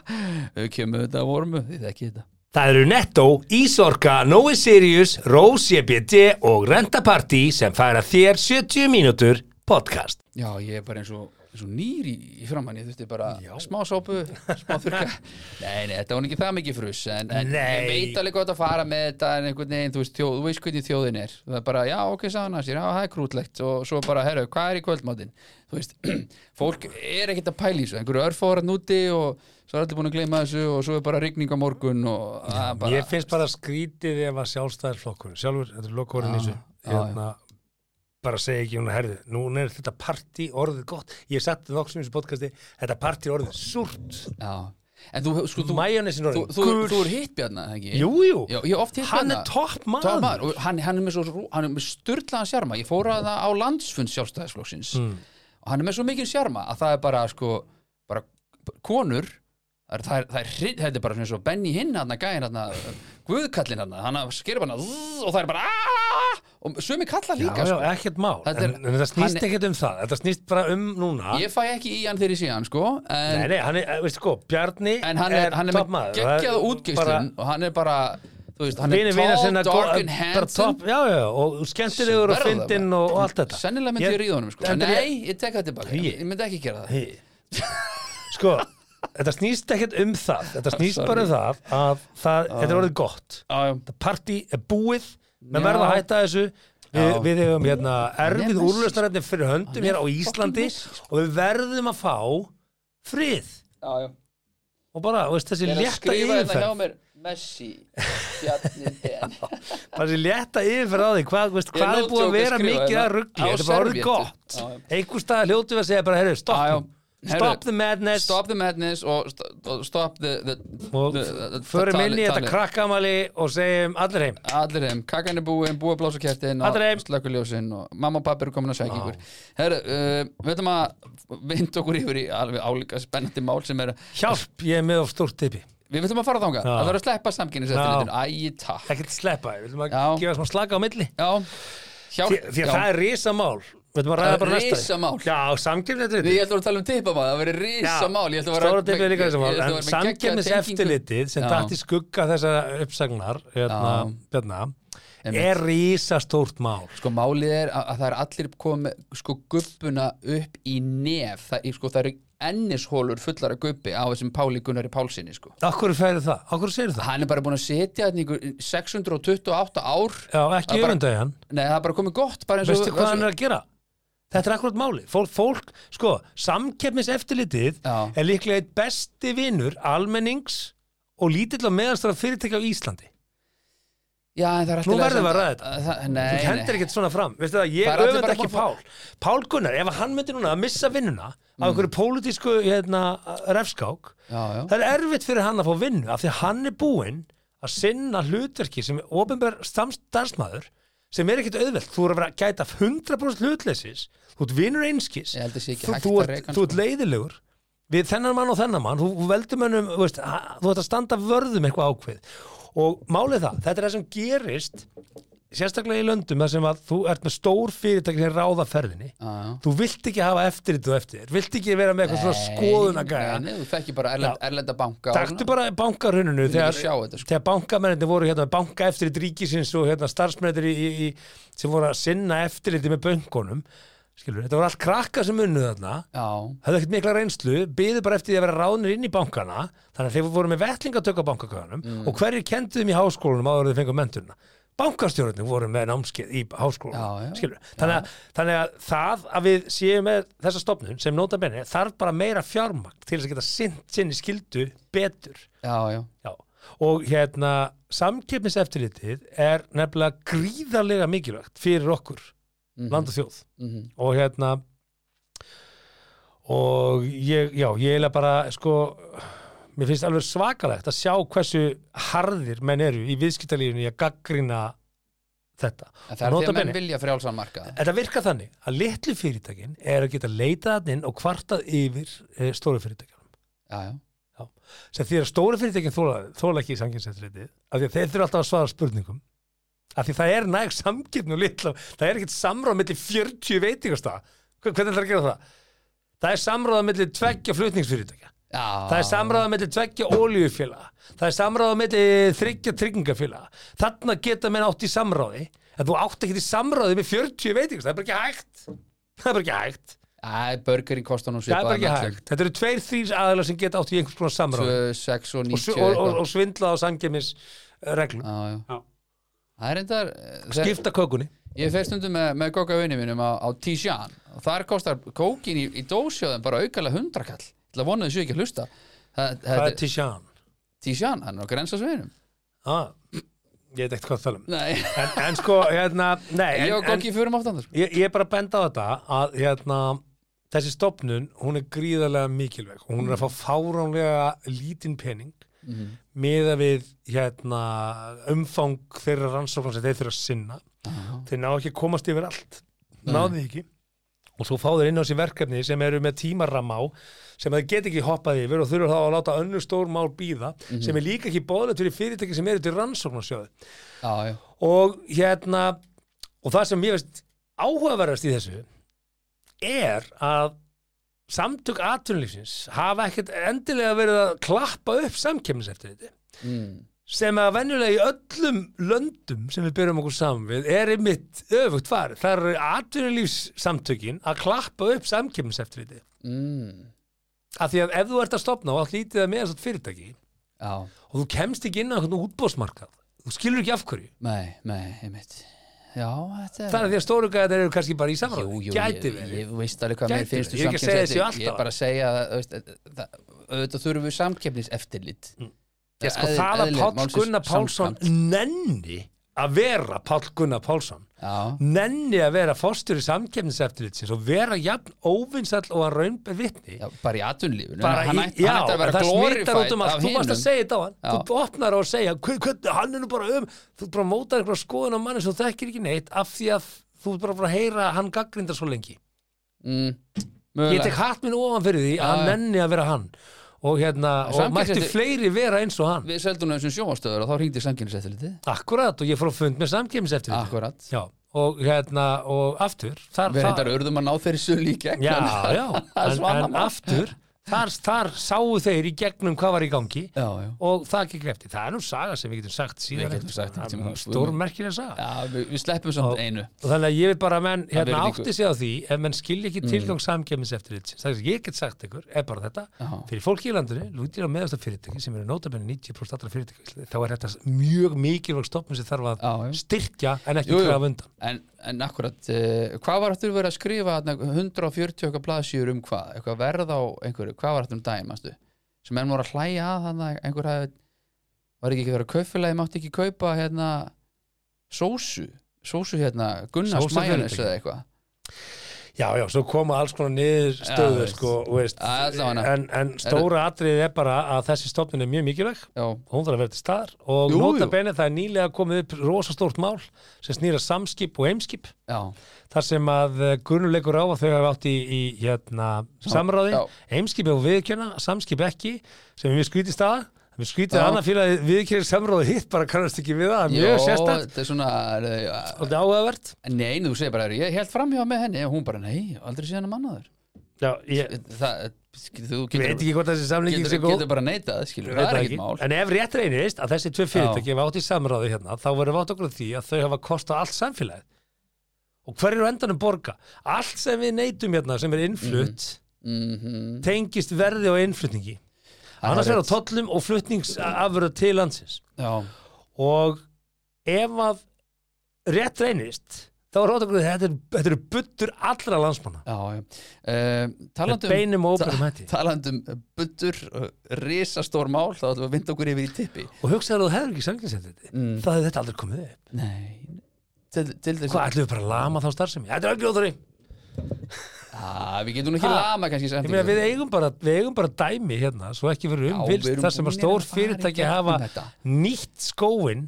Við kemum þetta að vormu, þið ekki þetta Það eru Netto, Ísorka, Nói Sirius, Rose EBD og Renta Party sem færa þér 70 mínútur podcast. Já, ég er bara eins og, eins og nýr í, í framan Ég þurfti bara smá sópu, smá þurka Nei, nei, þetta var nú ekki það mikið fruss En, en Nei. ég veit alveg gott að fara með þetta En einhvern veginn, þú veist, þjóð, þú veist hvernig þjóðin er Það er bara, já, ok, sagðan að sér, já, það er krútlegt Og svo bara, herru, hvað er í kvöldmáttin? Þú veist, fólk er ekkert að pæla í þessu Einhverju örfóra núti og svo er allir búin að gleyma þessu Og svo er bara rigning á morgun Og það er bara ég finnst bara skrítið ef að sjálfstæðar flokkur sjálfur, þetta er lokkorinn í þessu já, hérna, bara segi ekki hún að herðu núna er þetta partí orðið gott ég satt nokksum í þessu podcasti þetta partí orðið súrt Já, en þú, sko, þú majónesin Þú, orðið þú, gul. þú er hittbjarna, ekki? jú, jú, Já, ég hef oft hitt hann hérna. er topp maður, Tom Mann, og hann, hann er með, svo rú- hann er með styrlaðan sjarma ég fór að það á landsfund sjálfstæðisflokksins Hmm. og hann er með svo mikið sjarma að það er bara sko bara konur það er, það er, það er, hri- þetta er bara svona eins og Benny hinn hann að gæðin hann að guðkallin hann hann sker bara og það er bara "Aah!" og sumi kallar Já, líka já, sko. ekkert mál Þetta er- en, en þetta snýst hann- ekkert um það, þetta snýst bara um núna ég fæ ekki í hann þegar ég sé hann sko en, Nei, nei, hann er, veistu sko, Bjarni en hann er, hann er topp með maður. geggjaða Það er útgeislun og hann er bara þú veist, hann er vinir vina tall, sinna, dark go- and bara handsome topp, Já, já, og skemmtilegur og Verða það fyndinn bara. og, og allt þetta Sennilega myndi ég Ég- ríða honum sko. Þetta er- Nei, ég tek það tilbaka Hugi. Ég myndi ekki gera það Hey. Sko, þetta snýst ekkert um það Þetta snýst bara um það að það, þetta er orðið gott Já, já. Þetta partí er búið, menn Já. verða að hætta þessu Við, Já. við hefum hérna erfið messi, úrlösnarætni fyrir höndum Hann er hér á fucking Íslandi messi, sko. og við verðum að fá frið já, já. og bara, veist, þessi Ég er að létta skrifa þetta hjá yfirferð mér Messi Bjarni Ben bara þessi létta yfirferð á því hvað, veist, Ég hvað no er búið joke að að vera skrifa mikið hérna að ruggli á þetta er bara orðið servíettu. gott Já, já. einhver stað hljótu við að segja bara, Já, herru, já. stopp nú. Heyrðu, stop the madness Stop the madness og st- og stop the, the og the- the- the- förum tali- inn í þetta tali. krakkamali og segjum allir heim Allir heim, kakan er búin, búið að blása kertin og Allir heim. slökuljósin og mamma og pappi eru komin að sækja ykkur Herru, uh, við ætlum að vinda okkur yfir í alveg álíka spennandi mál sem er hjálp, ég er með of stórt tippi Við ætlum að fara þangað, Já. það verður að sleppa samkynniseftirlitinu Æ, takk ekkert sleppa, við viljum að Já. gefa smá slaka á milli Já, hjálp því, því að það er risamál við viljum að Það ræða er bara næsta risamál. já, samkjöfnið Nei, ég ætla að tala um tippa maður, það verið risa mál Ég ætla að vera- Stóra dæmi er líka Ég þessum mál, ætla að vera en með samkefnis geggjaða eftirlitið sem Já. dætt í skugga þessara uppsagnar hérna, Já. björna, Einmitt. er rísastórt mál Sko málið er að, að það er allir komið sko guppuna upp í nef Það, er- sko, það eru ennishólur fullar af guppi á þessum Páli Gunnari Pálsini sko. Akkur færi það, akkur segir það Hann er bara búin að setja þarna í einhver 628 ár Já, Það ekki er bara- öfundagi hann Nei, það er bara komið gott bara eins og- Veistu hvað hann er að gera? Þetta er akkurat máli Fólk, fólk sko, samkefnis eftirlitið Já. er líklega eitt besti vinnur almennings og lítill og meðanstara fyrirtækja á Íslandi Já, en það er Nú allt í lagi verðum við að samt- ræða þetta. það- Þú hendur Nei, nei ekkert svona fram Veistu það, Það ég er allir öfund bara ekki búin Pál Pál Gunnar, ef hann myndi núna að missa vinnuna Mm. af einhverju pólitísku hérna, refskák Já, já það er erfitt fyrir hann að fá vinnu af því að hann er búinn að sinna hlutverki sem er ofinber starfsmæður sem er ekkert auðvelt, þú er að vera að gæta 100% hlutleysis, þú ert vinnur einskis Ég held að sé ekki þú, hægt þú, að reka ert, hann, þú ert sko. leiðilegur við þennan mann og þennan mann, þú þú veldur mönnum þú veist, ha- þú ert að standa vörðum eitthvað ákveð og málið er það, þetta er það sem gerist sérstaklega í löndum þar sem að þú ert með stór fyrirtæki sem ráða ferðinni Já, já. þú vilt ekki hafa eftirlit og eftir vilt ekki vera með eitthvað svona Nei, skoðunagæða Nei, þú fekk bara erlend, erlenda banka og- Takktu bara bankaruninu Við þegar, ekki sjá þetta, sko. þegar bankamennir voru hérna, banka eftir í ríkisins og hérna, starfsmennir í, í, í, sem voru að sinna eftirliti með bönkunum skilur, þetta voru allt krakka sem unnu þarna Já, höfðu ekkert mikla reynslu, byðu bara eftir því að vera ráðnir inn í Mm. bankana þannig að þeir voru með vettlingatöku á bankakvæðanum og hverjir kendu þeim í háskólanum áður en þeir fengu menturina bankastjórnir voru með námskeið í Já, já. háskóla skilur þannig að, þannig að það að við séum með þessa stofnun sem nota benni þarf bara meira fjármagn til þess að geta sinnt sinni skildu betur já, já, Já. og hérna samkeppniseftirlitið er nefnilega gríðarlega mikilvægt fyrir okkur land og þjóð mhm, og hérna og ég, já, ég eiginlega bara sko, mér finnst alveg svakalegt að sjá hversu harðir menn eru í viðskiptalífinu í að gaggrina þetta. en það er því Nota að menn bene. vilja frjálsan markað Þetta virkar þannig að litlu fyrirtækin er að geta leitað þarna inn og kvartað yfir eh, stóru fyrirtækjum já, já, sem því að stóru fyrirtækin þóla, þóla ekki í samkynnseftirlitið af því að þeir þurfa alltaf að svara spurningum af því það er næg samkynn og litla það er ekkert samráð millir 40 veitingasta hvernig ætlar að gera það? það er samráð millir tveggja flutningsfyrirtækja já það er samráð millir tveggja óljufélaga það er samráð millir þryggja tryggingafélaga þarna geta menn átt í samráði en þú átt ekki í samráði með 40 veitingasta það er bara ekki hægt það er bara ekki hægt, Æ, börgurinn kostar nú það er svipaðan bara ekki hægt. þetta eru tveir, þrýr aðalar sem geta átt í einhvers konar samráði 6 og og, 90 sv- og, og, og svindla á samgefnis reglum já, já. Já. það er reyndar Skip. skipta kökunni ég fer stundum með, með kokka vinni mínum á, á Tijan og þar kostar kókin í, í dósjóðum bara aukalega hundrakall til að vona þessu ekki að hlusta það, það það er Tishan Tijan, hann er á grensasveginum ah, ég veit ekkert hvað það tala um nei, en, en sko, hérna, nei en, ég og en, kokki fyrum aftan þar ég, ég er bara að benda á þetta að hérna, þessi stopnun hún er gríðarlega mikilveg og hún er að fá fáránlega lítinn pening Mhm. miða við hérna, umfang þeirra rannsóknar sem þeir þurfa að sinna þeir ná ekki að komast yfir allt náðu því ekki og svo fá þeir inn á sér verkefni sem eru með tímaramá sem þeir geta ekki hoppað yfir og þurfa þá að láta önnur stór mál býða sem er líka ekki bóðlegt fyrir fyrirtæki sem eru til rannsóknarsjóði já, já, og hérna og það sem ég veist áhugaverðast í þessu er að samtök atvinnulífsins hafa ekkert endilega verið að klappa upp samkemmis eftir þetta mm. sem að venjulega í öllum löndum sem við byrjum okkur saman við er einmitt öfugt farið. Það eru atvinnulífssamtökin að klappa upp samkemmis eftir þetta. Mm. Af því að ef þú ert að stopna og allt lítið að meðast fyrirtæki já, og þú kemst ekki inn á einhvern útbóðsmarkað, þú skilur ekki af hverju. nei, nei, einmitt já, þetta Það er því að stóru gæðar eru kannski bara í samráði. Jú, jú, Gæti ég, verið. ég veist alveg hvað mér Gæti finnst um verið. Ég er ekki samkeppniseftirlit. Ég er bara að segja þessi alltaf. að segja að, þú veist, að- það- auðvitað þurfum við samkeppniseftirlit Ég sko það að eðli Páll málsins Gunnar Pálsson samkvæmt. nenni að vera Páll Gunnar Pálsson Já, nenni að vera fórstur í samkefniseftirlitsins og vera jafn óvinsall og að raunbe vitni já, bara í atvinnlífun bara hann í, ætti já, hann ætti að en vera það smittar út glorified um allt, af þú varst að hinum segja þetta á hann Já. þú opnar á að segja, "Hver- hvernig, hann er nú bara um þú bara mótar einhverja skoðun á manni sem þú þekkir ekki neitt af því að þú ert bara búin að heyra að hann gaggrindar svo lengi mm, ég mögulega. tek hatt minn ofan fyrir því að Já, hann já. nenni að vera hann og hérna, og Samkeppnis- mættu fleiri vera eins og hann Við seldum þessum sjónvastöður og þá hringdi samkeppniseftirlitið akkurat og ég fór að fund með samkefniseftirlitið Akkurat Já, og hérna, og aftur þar, Við reyndar urðum að ná þeirri sölu í gegn Já, en- já, það er en, svo annað en mál. aftur þar, þar sáu þeir í gegnum hvað var í gangi Já, já og það gekk eftir, það er nú saga sem við getum sagt síðan Við getum sagt einhvern tímann. stórmerkilega saga Já, við, við sleppum samt Já. einu og þannig að ég vil bara að menn hérna virðingu. Mm. átti sig á því ef menn skilja ekki tilgang samgefnis eftir þetta það er sem ég get sagt ykkur, er bara þetta Já. fyrir fólki í landinu, lútir á meðasta fyrirtæki sem eru nótabenni 90% allra fyrirtæki þá er þetta mjög mikilvæg stopnum sem þarf að Já, já. styrkja en ekki Jú, jú. krafa undan En, en akkurat, uh, hvað var aftur verið að skrifa þarna 140 okkar blaðsýður um hvað? Eitthvað verð á einhverju, hvað var aftur um daginn, manstu? Sem enn voru að hlæja að þannig að einhver hafi, var ekki ekki verið að kaupfélagi, mátti ekki kaupa hérna sósu, sósu hérna Gunnars Sósu Majónis fyrirtæki. eða eitthvað. Já, já, svo koma alls konar niður stöðu, veist. sko, og veist, Já, allavega. en, en stóra atriðið er bara að þessi stofnun er mjög mikilvæg Já, og hún þarf að vera til staðar Jú, og jú. notabene það er nýlega komið upp rosastórt mál sem snýra samskip og heimskip já, þar sem að grunnuleikur á að þau hafa átt í, í hérna, samráði já. heimskip og viðkjöna, samskip ekki sem er mjög skrítið staða við Já. skrítið að annað félagi viðkjörið samráði hitt bara kannast ekki við það, mjög sérstætt þetta er svona, eh, já, og þetta áhugavert nei, nú segir bara, ég held framhjá með henni og hún bara, nei, aldrei síðan að mannaður. Já, ég Það, þú veit getur, ekki hvort þessi samlíking getur, sé góð getur bara neitað, skilur, Veit það er það ekkert mál. En ef rétt reynist að þessi tvö fyrirtæki hafa átt í samráði hérna, þá verður vátt okkur á því að þau hafa kostað allt samfélagið. Og hver eru á endanum borga? Allt sem við neytum hérna sem er innflutt Mm tengist verði og innflutningi. Annars verður á tollum og flutningsafurðu til landsins. Já, Og ef að rétt reynist þá er rótakrúið þetta, er- þetta eru buddur allra landsmanna Já, já. Uh, með talandum, beinum og óbærum hætti talandum um, buddur, uh, risastór mál, þá ætlum við að vinda okkur yfir í tippi. og hugsaðu að þú hefur ekki sanginsett þetta Mm. þá hefur þetta aldrei komið upp Nei, til, til þess hvað ætlum við bara að lama þá starfsemi þetta er ekki óþrý ég Ah, við getum nú ekki Ha? lama kannski sem meina við eigum bara, við eigum bara dæmi hérna svo ekki verið umvilst þar sem að stór fyrirtæki hafa nýtt skóin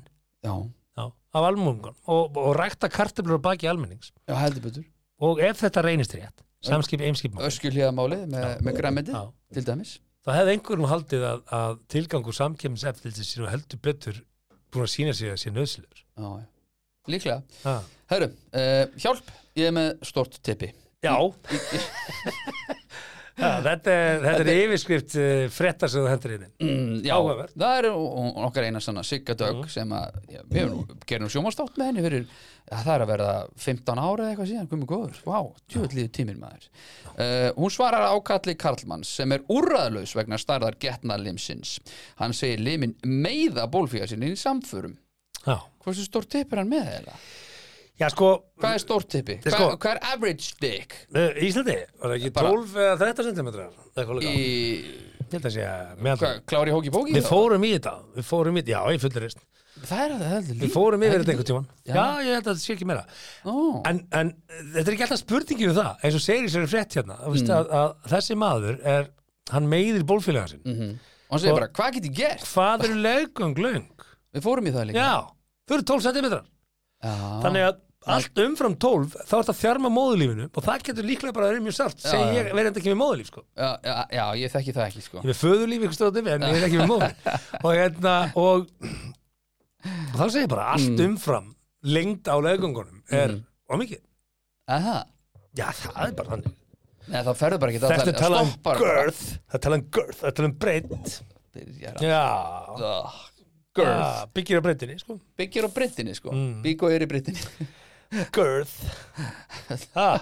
Já, já, af almungun og, og rækta kartöflur á baki almennings já heldur betur. og ef þetta reynist rétt samskip eimskip Öskjulíðamálið með, með græmendið, Já. til dæmis. þá hefði einhverjum haldið að, að tilgangur samkemmiseftildi sínu heldur betur búin að sína sig að sé nöðsilur Já, já. Líklega. ha. Herru, uh, hjálp, ég er með stort tippi. já ja, þetta, er- þetta er yfirskrift uh, frettar sem þú hendur inn Mm, já, Áhugavert. Mhm. það er hún- hún okkar eina sanna Sigga Dögg sem að, já, við erum, gerum sjómastátt með henni fyrir, að það er að verða 15 ára eða eitthvað síðan, komið góður Vá, tjóðlíðu tíminn maður uh, Hún svarar ákalli Karlmanns sem er úrraðlaus vegna starðar getna limsins Hann segir limin meiða bólfíða sinni í samförum já. Hversu stór tipp er hann með þeirra? já sko Hvað er stór tippi? er Hvað, sko- hvað er average dick? eh, Íslandi var það ekki Bara- 12 eða 13 cm Í, ég held að sé að meðan hvað, klári hóki bóki? við fórum í þetta við fórum í þetta, já ég fullur reist Það er að það heldur við fórum yfir þetta einhvern tíman Já. já ég held að þetta sé ekki meira Ó, En, en þetta er ekki alltaf spurningi við það eins og segir í sér frétt hérna mm. að, að þessi maður er, hann meiðir Mm. bólfélaga sinn Og hann segir bara, hvað get ég gert? hvað eru leggöng löng? Við fórum í það líka Já, þau eru 12 cm Já. þannig að allt umfram 12 þá er það þjarma móðulífinu og það getur líklega bara verið mjög sárt segi já. ég verið ekki með móðulíf sko já, já, já, ég þekki það ekki sko ég er með föðulíf ykkur stóðum en ég er ekki með móðulíf og hérna og, og þá segir ég bara allt Mm. umfram lengd á leggöngunum er mm. mikið Aha. Já, það er bara þannig Nei, þá ferðu bara ekki það Þetta er talað um stoppar bara. girth Það er talað um girth, það er talað um breytt Byrjar að- Já, Ugh. girth Girth, Byggir á breytinni, sko byggir á brittinni sko mm. Bygg og er í brittinni Girth ah.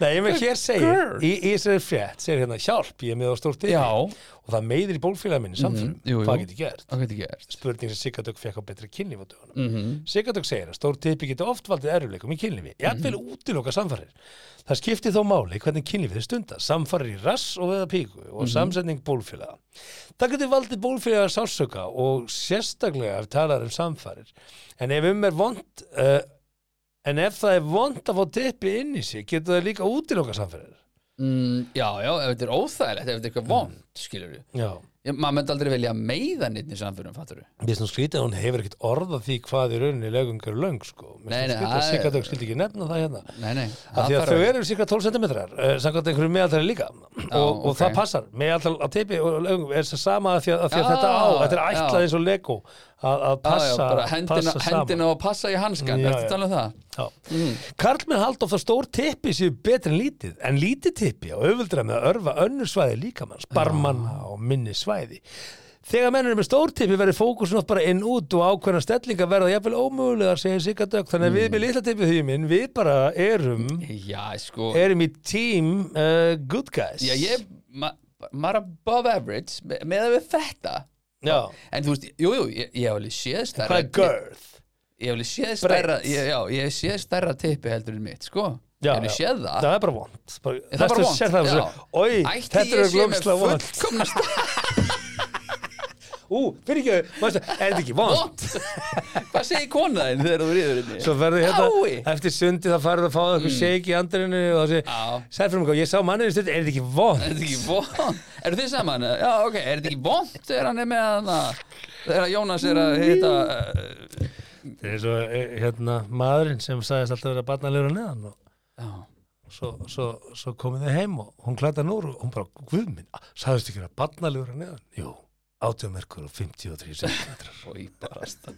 Nei, ég með hér segir Girth. Í í þessari frétt segir hérna Hjálp, ég er með á stórt yfir Já, Mhm. Og það meiðir í bólfélaga minni samfyrir jú, jú. Hvað getur gert? það getur gert Spurning sem Sigga Dögg fekk á betri kynlíf á dögunum mm Mhm. Sigga Dögg segir að stór tippi getur oft valdið erfileikum í kynlífi Jafnvel Mhm. mm útiloka samfarir Það skiptir þó máli hvernig kynlífið er stundar Samfarir í rass og veða píku Mhm. og samsetning bólfélaga Það getur valdið bólfélaga sásöka og sérstaklega ef talar um samfarir En ef um er vond uh, En ef það er vond að fá tippi inn í sig getur það líka útiloka samfarir mm, Já, já, ef þetta er óþægilegt Ef þetta er Mm. eitthvað vond, skilur við Já Maður myndi aldrei velja að meiða nýtt í samfyrum, fattur við Mér finnst nú skrítið að hún hefur ekkert orðað því hvað í rauninni lögung er löng sko. Mér Nei, finnst nú nei, skrítið að það Sigga er- Dögg skildi ekki nefna það hérna Nei, nei, Af því það að þarf þau að- eru cirka 12 cm uh, samkvæmt einhverju meðaltæri líka og, og ok. það passar, meðaltæri á tipi og lögum er það sama af því að, af því að Já, þetta á þetta er ætlað já. eins og Lego að, að Já, já, passa, bara hendina, passa hendina og passa í hanskan Já, Ertu já. að tala um það? saman mm. Karlmenn halda ofta stór tippi séu betri en lítið, en lítið tippi og auðvöldra með að örfa önnur svæði líkamanns barmanna og minni svæði Þegar menn eru með stór tippi verður fókusin oft bara inn út og ákveðna stellingar verða jafnvel ómögulegar, segir Sigga Dögg Mm. þannig að við með litla tippi hugin, við bara erum Já, sko erum í team uh, good guys Já, ég, ma- maður er above average me- meðan við þetta Já. En þú veist, jú, jú, ég, ég hef alveg séð stærra hvað er girth? Ég, ég hef alveg séð stærra Breitt. ég, Já, ég hef séð stærra tippi heldur en mitt, sko Ég Já, hef alveg já. séð það það er bara vond Bara- Ah. Það er bara Þessi vont, sér það já. svo, Oj, Ætli þetta ég er sé með glómsla vond fullkomnast Ú, fyrir ekki, maður, er þetta ekki vond? vond Hvað segir konaðin þegar þú ríður inni? Svo verður hérna, Ái. Mm. eftir sundi það farið að fá eitthvað shake í andrinu og það sé, Já. sæð fyrir mig, ég sá manninu stundi, er þetta ekki vond? Er þetta ekki vond? Eru þið saman? Já, ok, er þetta ekki vond þegar hann er með hann að þegar Jónas er að hitta uh, Þetta er svo, eh, hérna, maðurinn sem sagðist alltaf vera barnalegur að neðan og Já, svo, svo, svo komið þið heim og hún klæta núr og hún bara, guð minn, sagðist ekki vera barnalegur að neðan? Jú, 80 merkur og 53 centimetrar, fói barast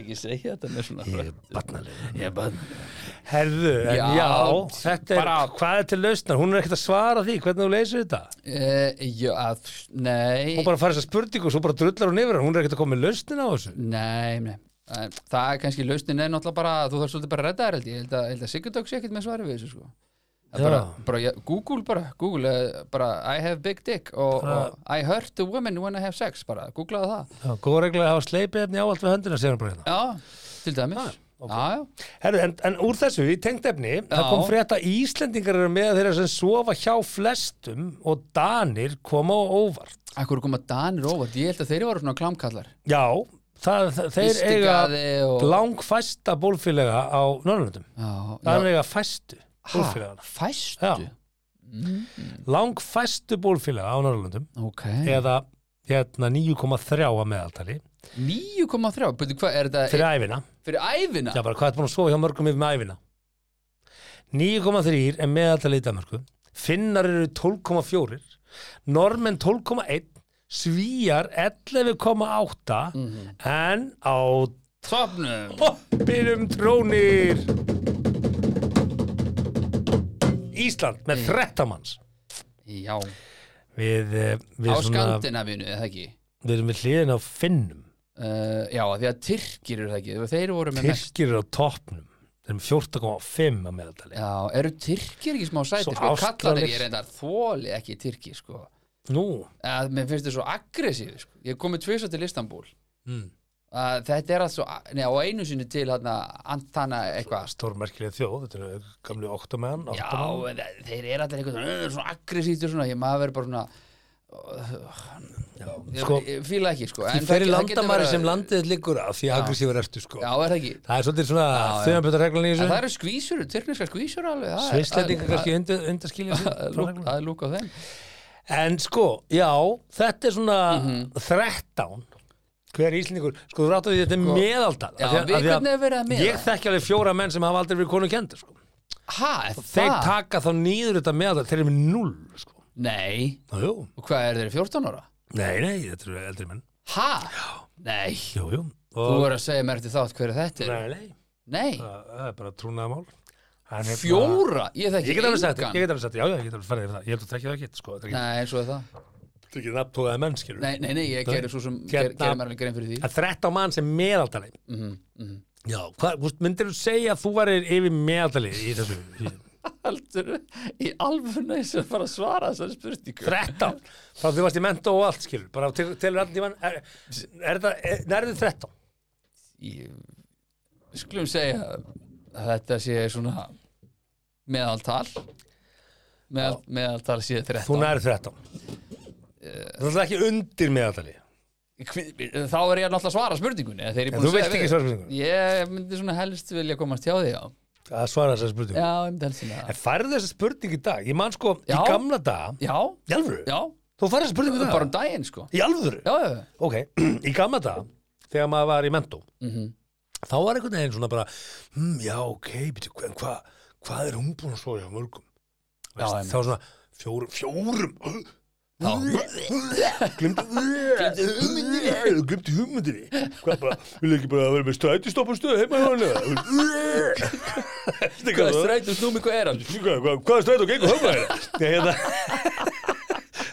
Ekki segja þetta með svona ég er barnalegur. Ég er bara Herðu, en já, Já, þetta er, bara- hvað er til lausnar? Hún er ekkert að svara því, hvernig þú leysir þetta? Uh, já, að, nei, Hún bara farið þess að spurningu og svo bara drullar hún yfir, hana, hún er ekkert að koma með lausnin á þessu. nei, nei. Eh, Það er kannski lausnin er náttúrulega bara að þú þarf svolítið bara að redda þér held ég, ég held að, ég held að Sigurdók sé ekkert með svari við þessu sko. Það er bara, bara, ja, Google bara, Google, eh, bara I have big dick og, og I hurt the women when I have sex, bara, googlaðu það. Já, góð regla að hafa sleipið efni áallt við höndina sér bara hérna. Já, til dæmis. Já, já, Herru, en, en úr þessu, í tengt efni, það Já. kom frétt að Íslendingar eru með þeirra sem sofa hjá flestum og Danir koma á óvart. akkur koma Danir óvart, ég held að þeir voru svona klamkallar. Já, það, það, þeir eiga Gistigarði og- langfæsta bólfélaga á Norrlöndum. Já, Danir eiga fæstu ha, bólfélagana. fæstu? Mm, Já. Langfæstu bólfélaga á Norrlöndum Ok, eða hérna 9,3 að meðaltali 9,3, betur hvað er þetta fyrir æfina. fyrir æfina? Já, bara hvað er búin að sofa hjá mörgum yfir með æfina? 9,3 er meðaltal í Danmarku Finnar eru 12,4 Normenn 12,1 Svíjar 11,8 En á Sopnum. toppinum trónir Ísland með 13 manns Já, Við, eh, við, á svona, Skandinavínu, eða ekki? við erum við hliðin á Finnum Uh, já, af því að Tyrkir eru það ekki, þeir voru með mest. Tyrkir eru á toppnum Þeir eru 14,5 að meðaltali Já, eru Tyrkir ekki smá sæti, Svo sko, kallar Ástralir- ég reyndar þóli ekki Tyrki, sko. Nú, að mér finnst þið svo aggressífi sko. ég komi tvisa til Istanbul Mm. að þetta er allt svo neða, og einu sinni til hann Antana eitthvað stórmerkilega þjóð, þetta er gamlu óttamenn, já, óttamenn. en þe- þeir eru allir eitthvað svona, "Ugh", svona aggressíftur svona, ég maður verið bara svona ég, Sko, ég fíla ekki sko Því en fyrir það- það getur landamæri verið- sem landið liggur á því agressífur ertu sko. já, er það ekki Það er svolítið svona já. þauðanbjörnarreglan í en það þessu. eru skvísur, tyrkneska skvísur alveg það er- Svisslendingar það- kannski undir, undarskilja sig það er frá lúk- reglunum. það er lúk á þeim En sko, já, þetta er svona Mhm. 13 hver íslendingur, sko þú rátt að því að þetta er Sko, meðaldal já, af því að- við af því hvernig er verið að miða? Ég þekki alveg fjóra menn sem hafa aldrei verið konu kendur sko. ha, er Þeir það? taka þá nýður þetta meðaldal, þeir eru með 0 sko. nei, Ná, jú, og hvað er þeir 14 ára? nei, nei, þetta eru eldri menn ha? nei Jú, jú, Þú og voru að segja mér eftir þátt hverju þetta er Nei, nei Nei, Það það er bara trúnaðamál En hérna- fjóra, ég þekki Ég get alveg sagt engan. þetta, ég get alveg sagt þetta, já, já, ég get alveg farið yfir það Ég held að tekja það ekki, sko, það er ekki- Nei, svo er það þetta er ekki nafntóðaði menn, skilur Nei, nei, nei, ég Nei. gerir svo sem Hérna- ger, gerir mér alveg grein fyrir því Að þrett á mann sem meðaldali Mhm, mhm. Já, hvað, þú veist, myndir þú segja að þú varir yfir meðaldali í þessu Heldur í alvöna eins og fara að svara þessari spurningu Þrettán, þá þú varst í mentó og allt, skilur Bara til- telur allan tíman Er, er það, er- nærðu þrettán? Ég- Við Skulum segja að þetta sé svona meðaltal Meðal, meðaltal sé 13 Þú nærðu þrettán Eh. Þú ætlar ekki undir meðaldali Hví- Þá er ég náttúrulega að svara spurningunni þegar ég er En búinn þú að segja vilt ekki við- svara spurningunni? Ég myndi svona helst vilja komast hjá því já Að svara þessar spurningu Já, ég myndi helst svona En færðu þessa spurning í dag? Ég man sko, í Já. gamla daga Já, Í alvöru? já, Þú færðu þessa spurningu í dag? bara um daginn sko Í alvöru? Já, já, já Ok, í gamla dag þegar maður var í mentó Mhm. þá var einhvern veginn svona bara mm, já, ok, beti, hvað hva, hvað er hún búin að sofa hjá mörgum Já, einmitt. Veist, þá svona fjórum fjórum uh, glimti glimti uh, hugmyndinni hvað bara, vil ekki bara vera með strætistoppastöð heima hjá hann hvað Hvað strætum snúmi, hvað er hann? hvað, hvað, hvað er strætó gengur höfna þér? Nei, hérna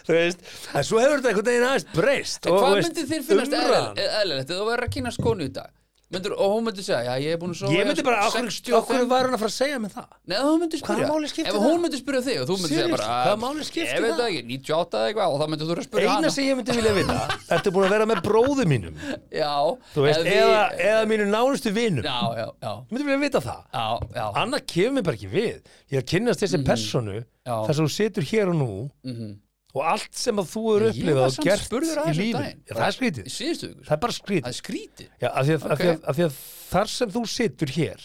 Þú veist, en svo hefur þetta einhvern veginn aðeins breyst En og, hvað þú veist, myndi þér finnast umræðan. eðlilegt Eh, eðlilegt ef þú verður að kynast konu í dag? Myndir, og hún myndi segja, já ég er búin að sofa Ég myndi bara, okkur, okkur var hann að fara að segja mig það Nei, þú myndi Hvaða spyrja máli skiptir Ef það? hún myndi spyrja þig og þú myndi segja Seriously, bara hvaða máli skiptir Ég veit það? það ekki, 98 eða eitthvað og þá myndi þú að spyrja Eina hana sem ég myndi vilja vinna Ertu búin að vera með bróðu mínum Já, Þú veist, ef eða, við- eða mínu nánustu vinum Já, já, já Ég myndi vilja vita það Já, já, Annað kemur mér bara ekki við Ég er að kynnast þessi personu Mm. Já. Þar sem þú situr hér og nú Og allt sem að þú eru Mhm. Ég upplifað var og samt gert spurður að í þessu um lífin daginn. Já, Það er skrítið í síðustu sko. ykkur Það er bara skrítið Það er skrítið Já, af því að, af því að, Ok. af því að þar sem þú situr hér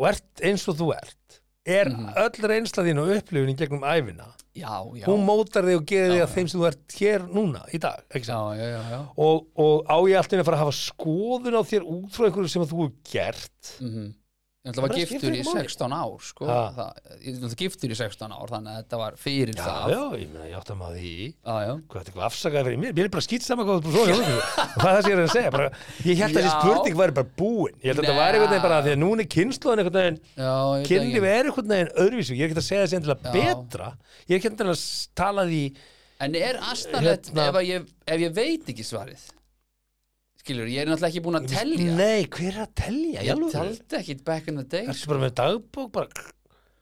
og ert eins og þú ert er öll reynsla þín og upplifunin gegnum æfina Já, Mhm. já hún mótar þig og gerir þig að þeim sem þú ert hér núna í dag ekki Já, já, satt? já, já og, og á ég alltaf að fara að hafa skoðun á þér út frá einhverju sem að þú er gert Ég ætla var Bara skiptir giftur í ekki máli. 16 ár sko. Ha. það, Ég ætla giftur í 16 ár þannig að þetta var fyrir já, það já, ég meina, ég átt að maður því Já, já. hvað þetta er eitthvað afsakaði fyrir mér, mér er bara skýt saman hvað þú er búin að sofa hjá okkur. það er það sem ég er að segja bara, ég held að þessi Já. spurning væri bara búin ég held að þetta Nei. væri einhvern veginn bara af því að núna er kynnslóðin einhvern veginn Já, ég veit kynlíf ekki. er einhvern veginn öðruvísu ég er ekki að segja þessi endilega Já. betra ég er ekki endilega að tala því En er astanlegt Hérna. ef, að ég, ef ég veit ekki svarið Skilur, ég er náttúrulega ekki búin að telja nei, hver er að telja? Ég taldi ekki back in the day Erstu bara með dagbók bara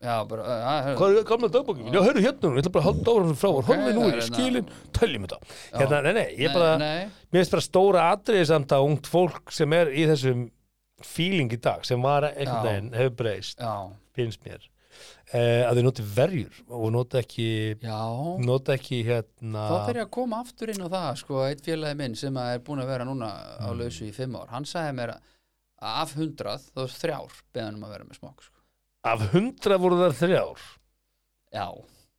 Já, bara, að, að, Hvað er gamla dagbókin? Já, hörru hérna, ég ætla bara að halda ára hann frá og horfið það nú í er hérna- skilin, töljum þetta. Hérna, nei, nei, ég Nei, bara, nei. mér finnst bara stóra atriði samt að ungt fólk sem er í þessum feeling í dag, sem var einhvern Já. veginn, hefur breyst, já, finnst mér, eh, að þau noti verjur og nota ekki, já. nota ekki hérna, Þá fyrir að koma aftur inn á það, sko, eitt félagi minn sem að er búin að vera núna á Mm. lausu í fimm ár, hann sagði mér að af hundrað, þá er þrjár beðanum að vera með smokk, sko. af hundra voru þar þrjár. Já.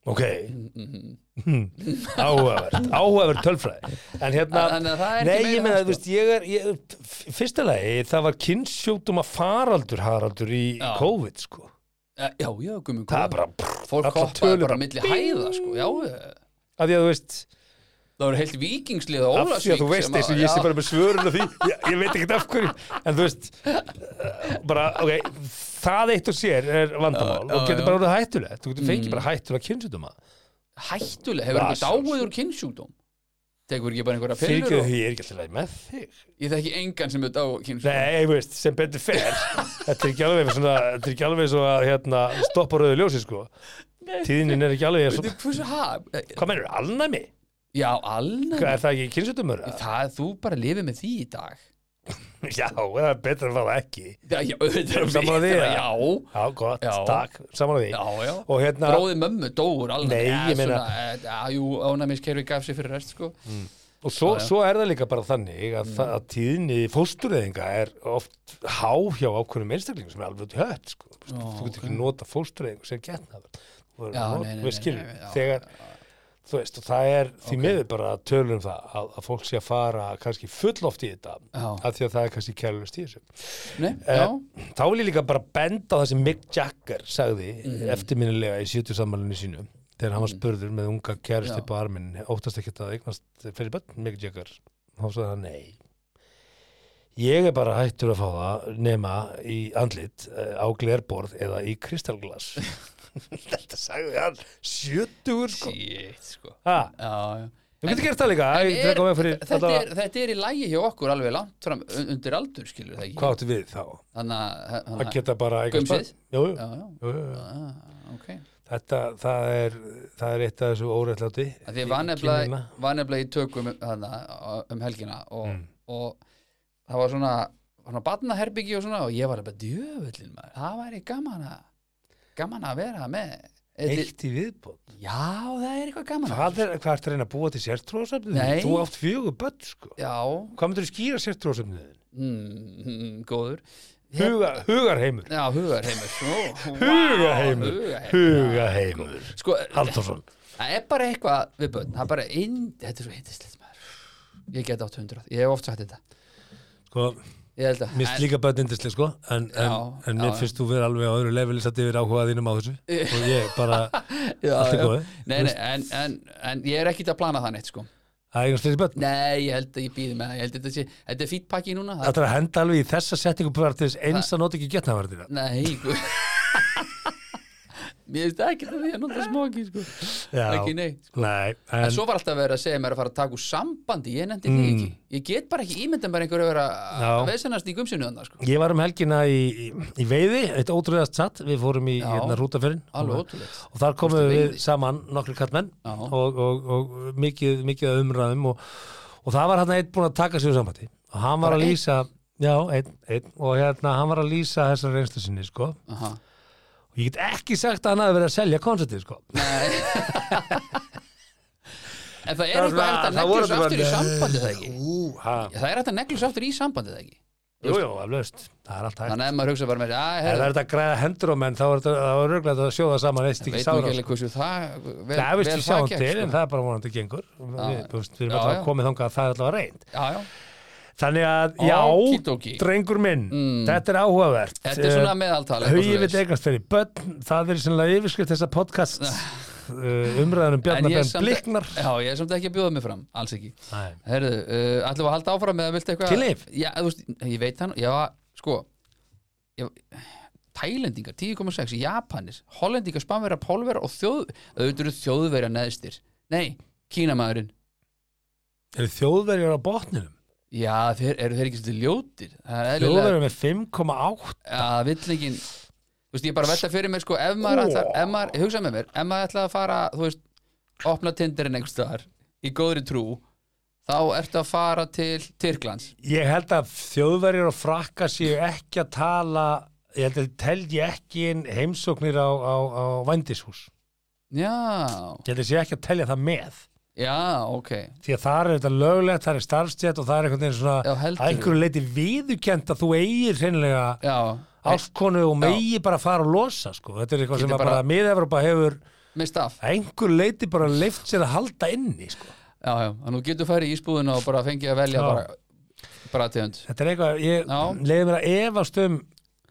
Ok, Mm -hmm. áhugavert, áhugavert tölfræði. En hérna, Þannig að það er Nei, ekki meira ég sko. meina, en þú veist, ég er, ég, f- fyrsta lagi, það var kynnsjótum að faraldur haraldur í Já. COVID, sko. Eh, Já, já, gummi, Það er bara, prr, Fólk allar hoppaði tölur bara bara, milli bing. hæða, sko, já, eh, að því að þú veist, það voru heilt vikingslið og af því ólasvík. að þú veist sem þessu, að- ég sé já. bara með svörun og því, ég, ég veit ekkert af hverju, en þú veist, eh, bara, ok, það eitt og sér er vandamál Já, já, og getur já. Mm. bara orðið hættulegt, þú getur fengið bara hættulega kynnsjótum að. Hættuleg, hefur Já, ekki dáið úr kynnsjúkdóm? Tekur ekki bara einhverja pillur Fyrirgeðu og... því, ég er ekki alltaf með þig. Ég þekki engan sem hefur dáið úr kynnsjúkdóm. Nei, þú veist, sem betur fer, þetta er ekki alveg svona, þetta er ekki alveg svo að, hérna, stoppa rauðu ljósi, sko. Tíðinin er ekki alveg svo... Veitir, hversu haf? Hvað mennur, alnæmi? Já, alveg. Hvað, er það ekki kynsutumur? Það, þú bara lifið með því í dag. Já, það er betra en það ekki. Já, já, auðvitað er Sammála því, betra, eða? Já, Já, gott, Já. takk, saman að því. já, já. Og hérna, Bróði mömmu dóur alveg. Nei, ég meina- Mm. Já, eh, jú, ónæmiskerfi gaf sér fyrir rest, sko. og svo, Já, já. svo er það líka bara þannig að, mm. að tíðinni fóstureyðinga er oft há hjá ákveðnum einstaklingum sem er alveg út í hött, sko. Þú veist, þú getur ekki nota fóstureyðingu sem getnaður. Þú verður Já, að nota- nei, nei, þú veist, nei, skilur, nei, já, Þegar, þú veist, og það er því miður bara að tölum um það að, að fólk sé að fara kannski full oft í þetta, Já. af því að það er kannski kærlust í þessu. Nei, Eh, já, þá vil ég líka bara benda á það sem Mick Jagger sagði Mhm. eftirminnilega í 70 sammælunni sínu þegar hann var spurður með unga kærist Já. upp á arminn óttast ekki að eignast fyrir bönn Mick Jagger, þá sagði hann nei ég er bara hættur að fá það nema í andlit eh, á glerborð eða í kristalglas þetta sagði hann 70 sko shit, sko. ha, Já, já. þú getur gert það líka En ég tek á mig fyrir þetta, allavega- er, þetta er í lægi hjá okkur alveg langt fram un- undir aldur, skilur það ekki? hvað áttu við þá? Þannig að... að þannig að- geta bara eignast Gaumsið? börn? Jú, jú, Já, já, jú, jú, jú. ah, ok. Þetta, það er, það er eitt af þessu órættláti. Af Því var nefnilega, var nefnilega í tökum hana, um helgina og, og það var svona, svona barnaherbyggi og svona og ég var bara djöfullin maður, það væri gaman að gaman að vera með Eitthi, Eitt í viðbót. Já, það er eitthvað gaman að Hvað er, hvað ertu að reyna að búa til sértrúasöfnið? Nei. Þú átt fjögur börn, sko. Já, Hvað myndir þú skýra sértrúasöfnið? mm, mm, góður Huga, hugarheimur. Já, hugarheimur Ó, vá, Hugarheimur. Hugarheimur Hugarheimur. Sko, Halldórsson. það er bara eitthvað við börn, það er bara inn, þetta er svo hindislegt maður Ég get átt hundrað, ég hef oft sagt þetta Sko, Ég held að mér finnst líka börn indislega, sko. En, en, Já, en já, mér já. finnst þú vera alveg á öðru leveli satt yfir áhugað þínum á þessu. Og ég bara, já, allt er já. góði. Nei, nei, en, en, en ég er ekkit að plana það neitt sko Það er einhvern sliðis börn. Nei, ég held að ég býði með það, ég held að þetta sé Þetta er fýtt pakki núna það, Þetta er að henda alveg í þessa settingu bara til þess eins að nota ekki getnaverðina. Nei, guð Mér finnst ekki það því að nota smóki sko Ekki neitt sko. Nei, En, en svo var alltaf verið að segja mér að fara að taka úr sambandi Ég nefndi því ekki Ég get bara ekki ímyndan bara einhverju að vera Mm. Já. að vesenast í gumsinu þannig sko Ég var um helgina í, í, í veiði, eitt ótrúðast satt, við fórum í Já. hérna rútaferinn Alveg og, ótrúlegt og þar komum Fórstu í við veiði? saman nokkru kattmenn Já. og, og, og mikið, mikið af umræðum og, og það var hann einn búinn að taka sig úr sambandi og hann var Bara að lýsa, já, einn, einn og hérna, hann var að lýsa þessar reynslu sinni, sko Aha. og ég get ekki sagt að hann hafi verið að selja koncertið, sko Nei En það er eitthvað hægt Það var svona- að það voru negljus aftur í bara- sambandi það ekki Ú, ha, Það er hægt að negljus aftur í sambandi það ekki jú, jú, alvegst, það er alltaf hægt Þannig að ef maður hugsa bara með Ef það þessi er þetta að græða hendur á menn, þá er þetta örglega að sjóða saman eitt Veit stikki nú ekki sára, sko alveg hversu það vel, Það veist vel við sjáum það gekk, til, sko. en það er bara vonandi gengur Við, þú veist, við erum Já, alltaf já. komið þangað að það er alltaf reynd Já, já, Þannig að, já, Okidoki. Mm. drengur minn Þetta er áhugavert Eh, þetta er svona meðaltal Hauði við degast fyrir börn Það er sannlega yfirskrift þessa Eh, podcast Ah. Umræðanum Bjarnar Benn um Bliknar Já, ég er samt ekki að bjóða mig fram, alls ekki Nei. Herðu, uh, ætlum við að halda áfram eða viltu eitthvað Kynlíf? Já, þú veist, ég veit hann, já, sko ég, Tælendingar, 10,6 Japanis, Hollendingar, Spanverjar, Pólverjar og þjóð, auðvitað eru þjóðverjar neðstir Nei, Kínamaðurinn Eru þjóðverjar á botninum? Já, þeir, eru þeir ekki svolítið ljótir Það er eðlilega Þjóðverjar með 5,8 að villingin Þú veist, ég bara velta fyrir mér sko ef maður Ó. ætlar, ef maður, hugsa með mér ef maður ætlar að fara, þú veist opna tindirinn einhvers staðar í góðri trú þá ertu að fara til Tyrklands Ég held að þjóðverjur og frakka séu ekki að tala ég held að telji ekki inn heimsóknir á, á, á vændishús Já, ég held að séu ekki að telja það með já, ok því að það er þetta löglegt, það er starfstjætt og það er einhvern veginn Já, svona heldur. að einhverju leiti viðukent að þú eigir hreinlega Já, ástkonu og megi bara fara að losa sko. þetta er eitthvað Getur sem að bara- bara miðevrópa hefur með staff að einhverju leiti bara leift sér að halda inni sko. Já, já, en þú getur farið í ísbúðina og bara fengið að velja Já. bara brategund þetta er eitthvað, ég Já. leiði mér að efast um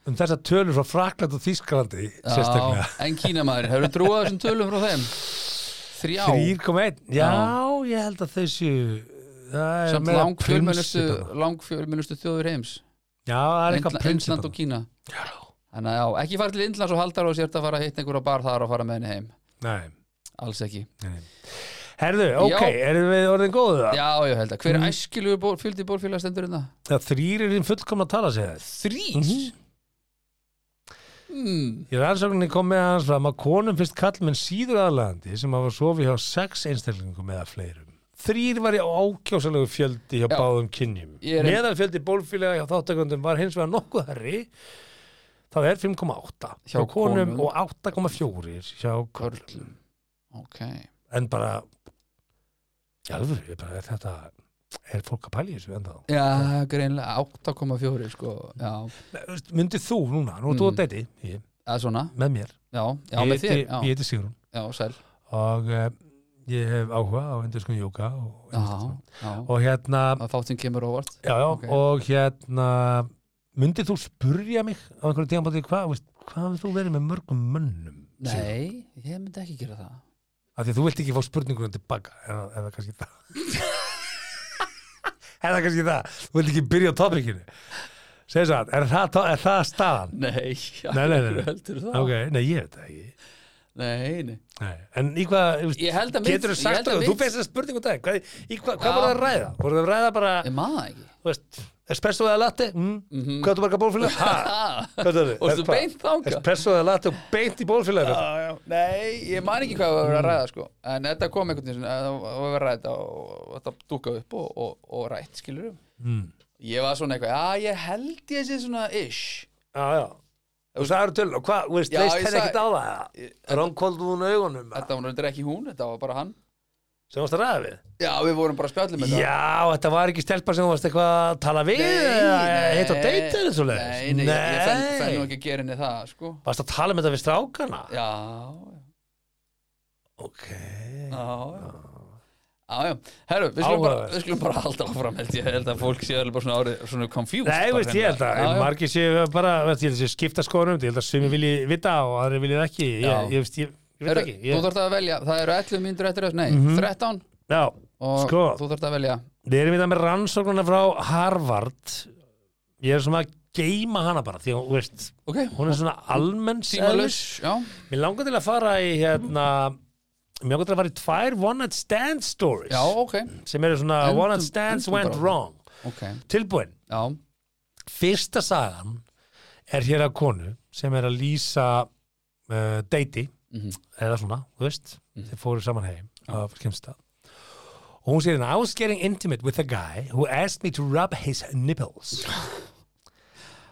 um þessa tölur frá Frakland og Þískalandi sérstaklega En kínamaðurinn, hefur trúið þessum tölum frá þeim? Þrjá 3,1 já, ég held að þessu það Samt meira langfjölmennustu prinsip þarna. langfjölmennustu þjóður heims já, það er eitthvað Indla- Indland og prinsip Kína Þannig að já, ekki fara til Indlands og haldar og sért að fara að hitta einhverja bar þar og fara með henni heim Nei, Alls ekki nei. herðu, ok, Já. erum við orðin góðu það? Já, ég held að, hver Mhm. er æskilugur ból, fjöldi bólfélag stendur hérna? það þrýr er þín fullkomna að tala sig þess Þrís? Mhm. mm. í rannsókninni kom með hans fram að konum finnst kallmenn síður aðlandi sem hafa sofið hjá sex einstaklingum eða fleirum þrýr var í ákjásalegu fjöldi hjá Já. báðum kynjum Ég er- meðal fjöldi bólfélaga hjá þáttakundum var hins vegar nokkuð herri það er 5,8 hjá, Hjá konum, konum. og 8,4 hjá körlum Körlum Ok en bara í alvöru, ég bara, er þetta er fólk að pæla í þessu enda Já, greinlega, 8,4 sko Já, þá myndi þú núna, nú er Mm. þú að deiti ég, eða svona með mér, Já, já, ég, með þér heiti- ég Já, heiti Sigrun já sæl og uh, ég hef áhuga á endurskun jóka og, sko. Já, já og hérna Það þáttinn kemur óvart já, já, ok. og hérna myndið þú spurja mig á einhverjum tíðanbátti hvað veist, hvað hafðir þú verið með mörgum mönnum Sigrún? Nei, ég myndi ekki gera það af því að þú vilt ekki fá spurninguna tilbaka eða, eða kannski það eða kannski það þú vilt ekki byrja á topikinu segðu svo að, er það, to- er það staðan? Nei, Nei, nei, nei, nei. heldur það ok, nei, ég veit það ekki Nei, nei nei. en í hvað, þú veist, Ég held að mitt- getur þú ég sagt held að það þú mitt- fegst þessa spurningu dag hvað, í hvað, Já. hvað voru það að ræða? voru það að ræða bara, Ég maður það ekki þú veist, espresso eða latte mm? hvað þú marga bólfélag? ha, Ha? hvað það er? Varstu Hvað? Mhm. beint þangað? espresso eða latte og beint í bólfélag Já, já. Nei, ég man ekki hvað við varum að ræða sko. en þetta kom einhvern veginn að það var að ræða þetta og og þetta dúka upp og, og, og rætt, skilur um mm. Ég var svona eitthvað, já, ég held ég sé svona ish já, já Þú sagður töl, og hvað, þú veist, Já, leist ég henni sag- ekkert á það? Rónkóldu hún augunum? Þetta var náttúrulega ekki hún, þetta var bara hann sem þú varst að ræða við Já, við vorum bara að spjalla um með það Já, þetta var ekki stelpa sem þú varst eitthvað að tala við eða hitt á deyta eða svo leiðis Nei, nei, ég- ég fenn, fenn nú ekki að gera henni það, sko Varst að tala með þetta við strákana? Já, já Ok Já, já. Já, já, herru, við skulum, bara, Áhugavert. við skulum bara halda áfram held ég, held að fólk sé alveg bara svona árið svona confused Nei, bara hérna. veist, ég held hreinlega. að margir séu bara, veist, ég held að séu skipta skoðunum ég held að sumi vilji vita og aðri vilji það ekki ég, Já. ég, veist, ég, ég veit Herru, ekki Þú ég, þarft að velja, það eru 11 mínútur eftir þess, nei, 13 Já, og sko, þú þarft að velja við erum í það með rannsóknuna frá Harvard ég er svona að geima hana bara því að, þú veist, Ok, hún er svona almenn tímalus, já, Mér langar til að fara í hérna Mér langar til að fara í tvær one night stand stories já, ok, sem eru svona Endum- one night stands endum went bara. wrong ok, Tilbúin, já, fyrsta sagan er hér að konu sem er að lýsa uh, deiti Mhm. eða svona, þú veist þeir fóru saman heim af kemstað og hún segir hérna, I was getting intimate with a guy who asked me to rub his nipples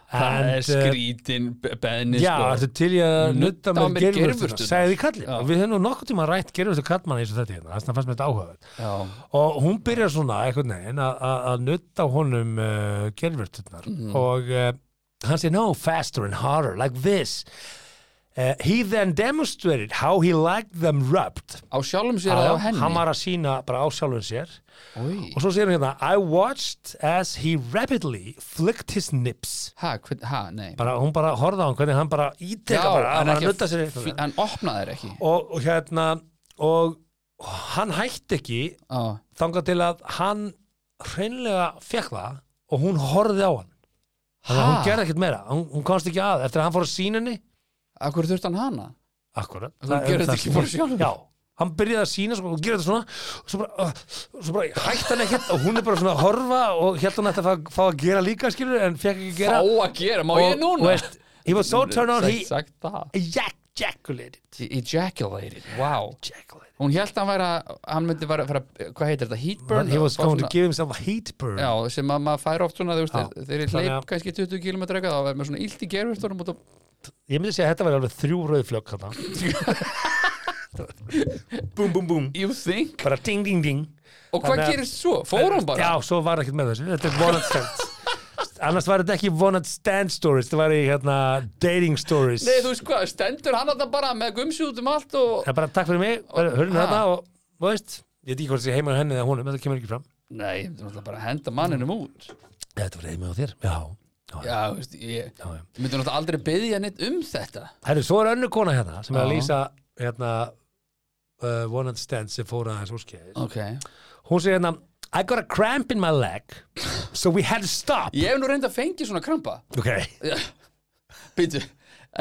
það er uh, skrítin benni Já, sko. ertu til í að Nudda nutta á með mér gerfurtuna, geirvörturnar. sagði því kallið Já. og við höfum nú nokkuð tíma rætt gerfurtu kallmann eins og þetta hérna, þess að fannst mér þetta áhugað já, og hún byrjar svona einhvern veginn að- að að nutta á honum uh, gerfurtunar Mhm. og uh, hann segir, no, faster and harder like this uh, he then demonstrated how he liked them rubbed á sjálfum sér Já, eða á hann henni var að sína bara á sjálfum sér Oj. og svo segir hann hérna, I watched as he rapidly flicked his nips Ha, hvern, ha, nei bara, hún bara horfði á hann hvernig hann bara Já, íteka bara, hann hann, bara ekki, nutta sér í- fl- hann opnaði þér ekki og, og hérna og hann hætti ekki Já, þangað til að hann hreinlega fekk það og hún horfði á hann Ha? þannig að hún gerði ekkert meira, hún, hún komst ekki að eftir að hann fór að sína henni akkur þurft hann hana? akkurat, Hún gerði þetta ekki bara sjálfur? já, hann byrjaði að sína sko, og gera þetta svona og svo bara, uh, svo bara hætti hann ekkert og hún er bara svona að horfa og hérna hann ætti að fá, fá að gera líka skilur en fekk ekki að Fá gera að gera, má ég núna? veist, He was so turned on, he Sagt það ejaculated. Ejaculated, wow Ejaculated. Hún held að hann væri að, hann myndi vera, vera hvað heitir þetta, heatburn He was Fá going to svona- give himself a heat burn. Já, sem að maður fær oft svona, þú veist, Já. þeir- þeir eru Þannig að- hleyp kannski 20 km eitthvað, þá verður maður svona illt í gerfurtunum út af Ég myndi segja að þetta væri alveg þrjú rauðflögg hann. búm, búm, búm. You think? Bara ding, ding, ding. Og hvað Þannig að- gerist svo? Fór hún bara? Já, svo var ekkert með þessu. Þetta er one at stand. Annars var þetta ekki one at stand stories. Þetta var í hérna dating stories. Nei, þú veist hvað, stendur hann þarna bara með gumsi út um allt og Það er bara takk fyrir mig. Hörnum Ha. þetta og, þú veist, ég veit ekki hvort það sé heima á henni eða honum. Þetta kemur ekki fram. Nei, þetta er náttúrulega bara að henda manninum út Þetta var heima á þér. Já. Já, já. Já, þú veist, ég já, já. myndi náttúrulega aldrei byggja neitt um þetta Herru, svo er önnur kona hérna sem er að Já. lýsa hérna uh, one at stand sem fór aðeins úrskeiðis. Ok Hún segir hérna I got a cramp in my leg so we had to stop. Ég hef nú reynd að fengi svona krampa Ok. Býtu,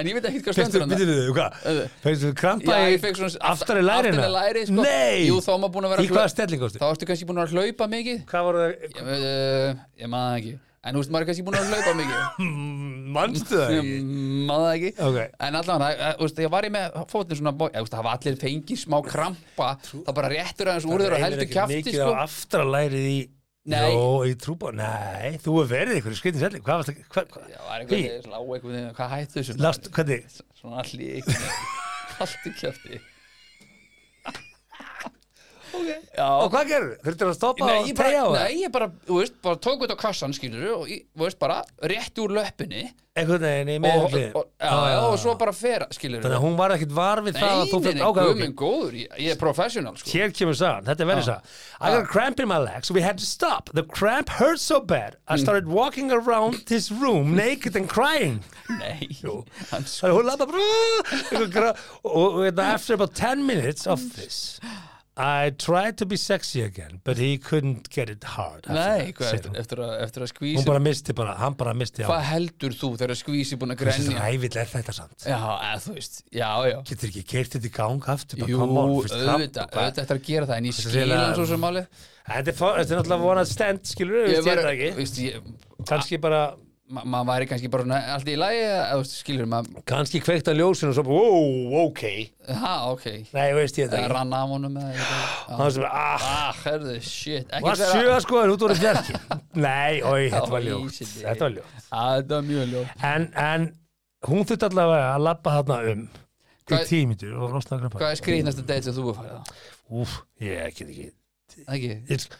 en ég veit ekkert hvað Fyrstu, stendur hann býttu þið, hvað? Fyrstu krampa Já, í ég fekk svona aftar í lærinu? Aftar í læri, sko Nei! Jú, þá maður búin að vera í að hvaða hlaupa stelling ástu? Þá ertu kannski búin að vera að hlaupa mikið Hvað voru það? Ég, uh, ég maður það ekki En þú veist, maður er kannski búin að vera að hlaupa mikið Manstu það? Ég maður það ekki Ok. En allavega, það- þú veist, ég var ég með fótinn svona bó- ég, þú veist, Það hafa allir fengið smá krampa Það bara réttur aðeins úr þér og heldur kjafti, Mikið sko á aftar að lærið í Nei. Jó, í trúbá Nei, þú hefur verið ykkur í skritin stelling Hvað varst það? Hvað? Já, var Hví? eitthvað, slá eitthvað, niður, hvað hættu þessu Last, hvernig? Svona hlík Haltu kjafti Ok Já Og hvað gerðu? Þurftur að stoppa Nei, og ég tegja bara, á það? nei, ég bara, þú veist, bara tók þetta á kassan, skilur og, ég- þú veist, bara, rétt úr löppinni Einhvern veginn í og, og, meðanlið og, já, já, og svo bara fer, skilur Þannig að hún var ekkit var við það að þú fyrir ágæðu guð minn góður, ég, ég er professional, sko Hér kemur sagan, þetta er verið Já. sagan I got a cramp in my leg, so we had to stop The cramp hurt so bad I Mm. started walking around this room naked and crying Nei, hann sko Þannig að hún lappa bara og hérna, after about 10 minutes of this I tried to be sexy again but he couldn't get it hard after Nei, that, hvað, segir eftir, hún. eftir að, eftir að hún skvísi bara misti bara, hann bara misti á Hvað heldur þú þegar að skvísi búin að þessi grenja? ræfill er þetta samt Já, eða, þú veist, já, já getur ekki keirt þetta í gang aftur bara, Jú, come on, fyrst það- auðvitað, auðvitað eftir að gera það En ég Þessi skil eiginlega- hann svo sem máli þetta er fó- þetta er náttúrulega vonað stend skilur, við veist ég þetta ekki veist, ég, kannski bara, ma maður væri kannski bara svona allt í lagi eða, eða, þú veist, skilur maður kannski kveikt að ljósinu og svo, wow, ok ha, ok, nei, veist ég þetta eða ekki rann af honum eða eitthvað. hann sem, ah, ah, herðu, shit ekki var sjöða sko en út voru fjarki nei, oi, þetta var Ó, ljótt ísindi. þetta var ljótt að þetta er mjög ljó en, en hún þurfti allavega að labba þarna um Hvað- í tímitur og losna að hvað graffa er skrýtnasta date sem þú er farið á? úf, ég get ekki ekki, ég, sk-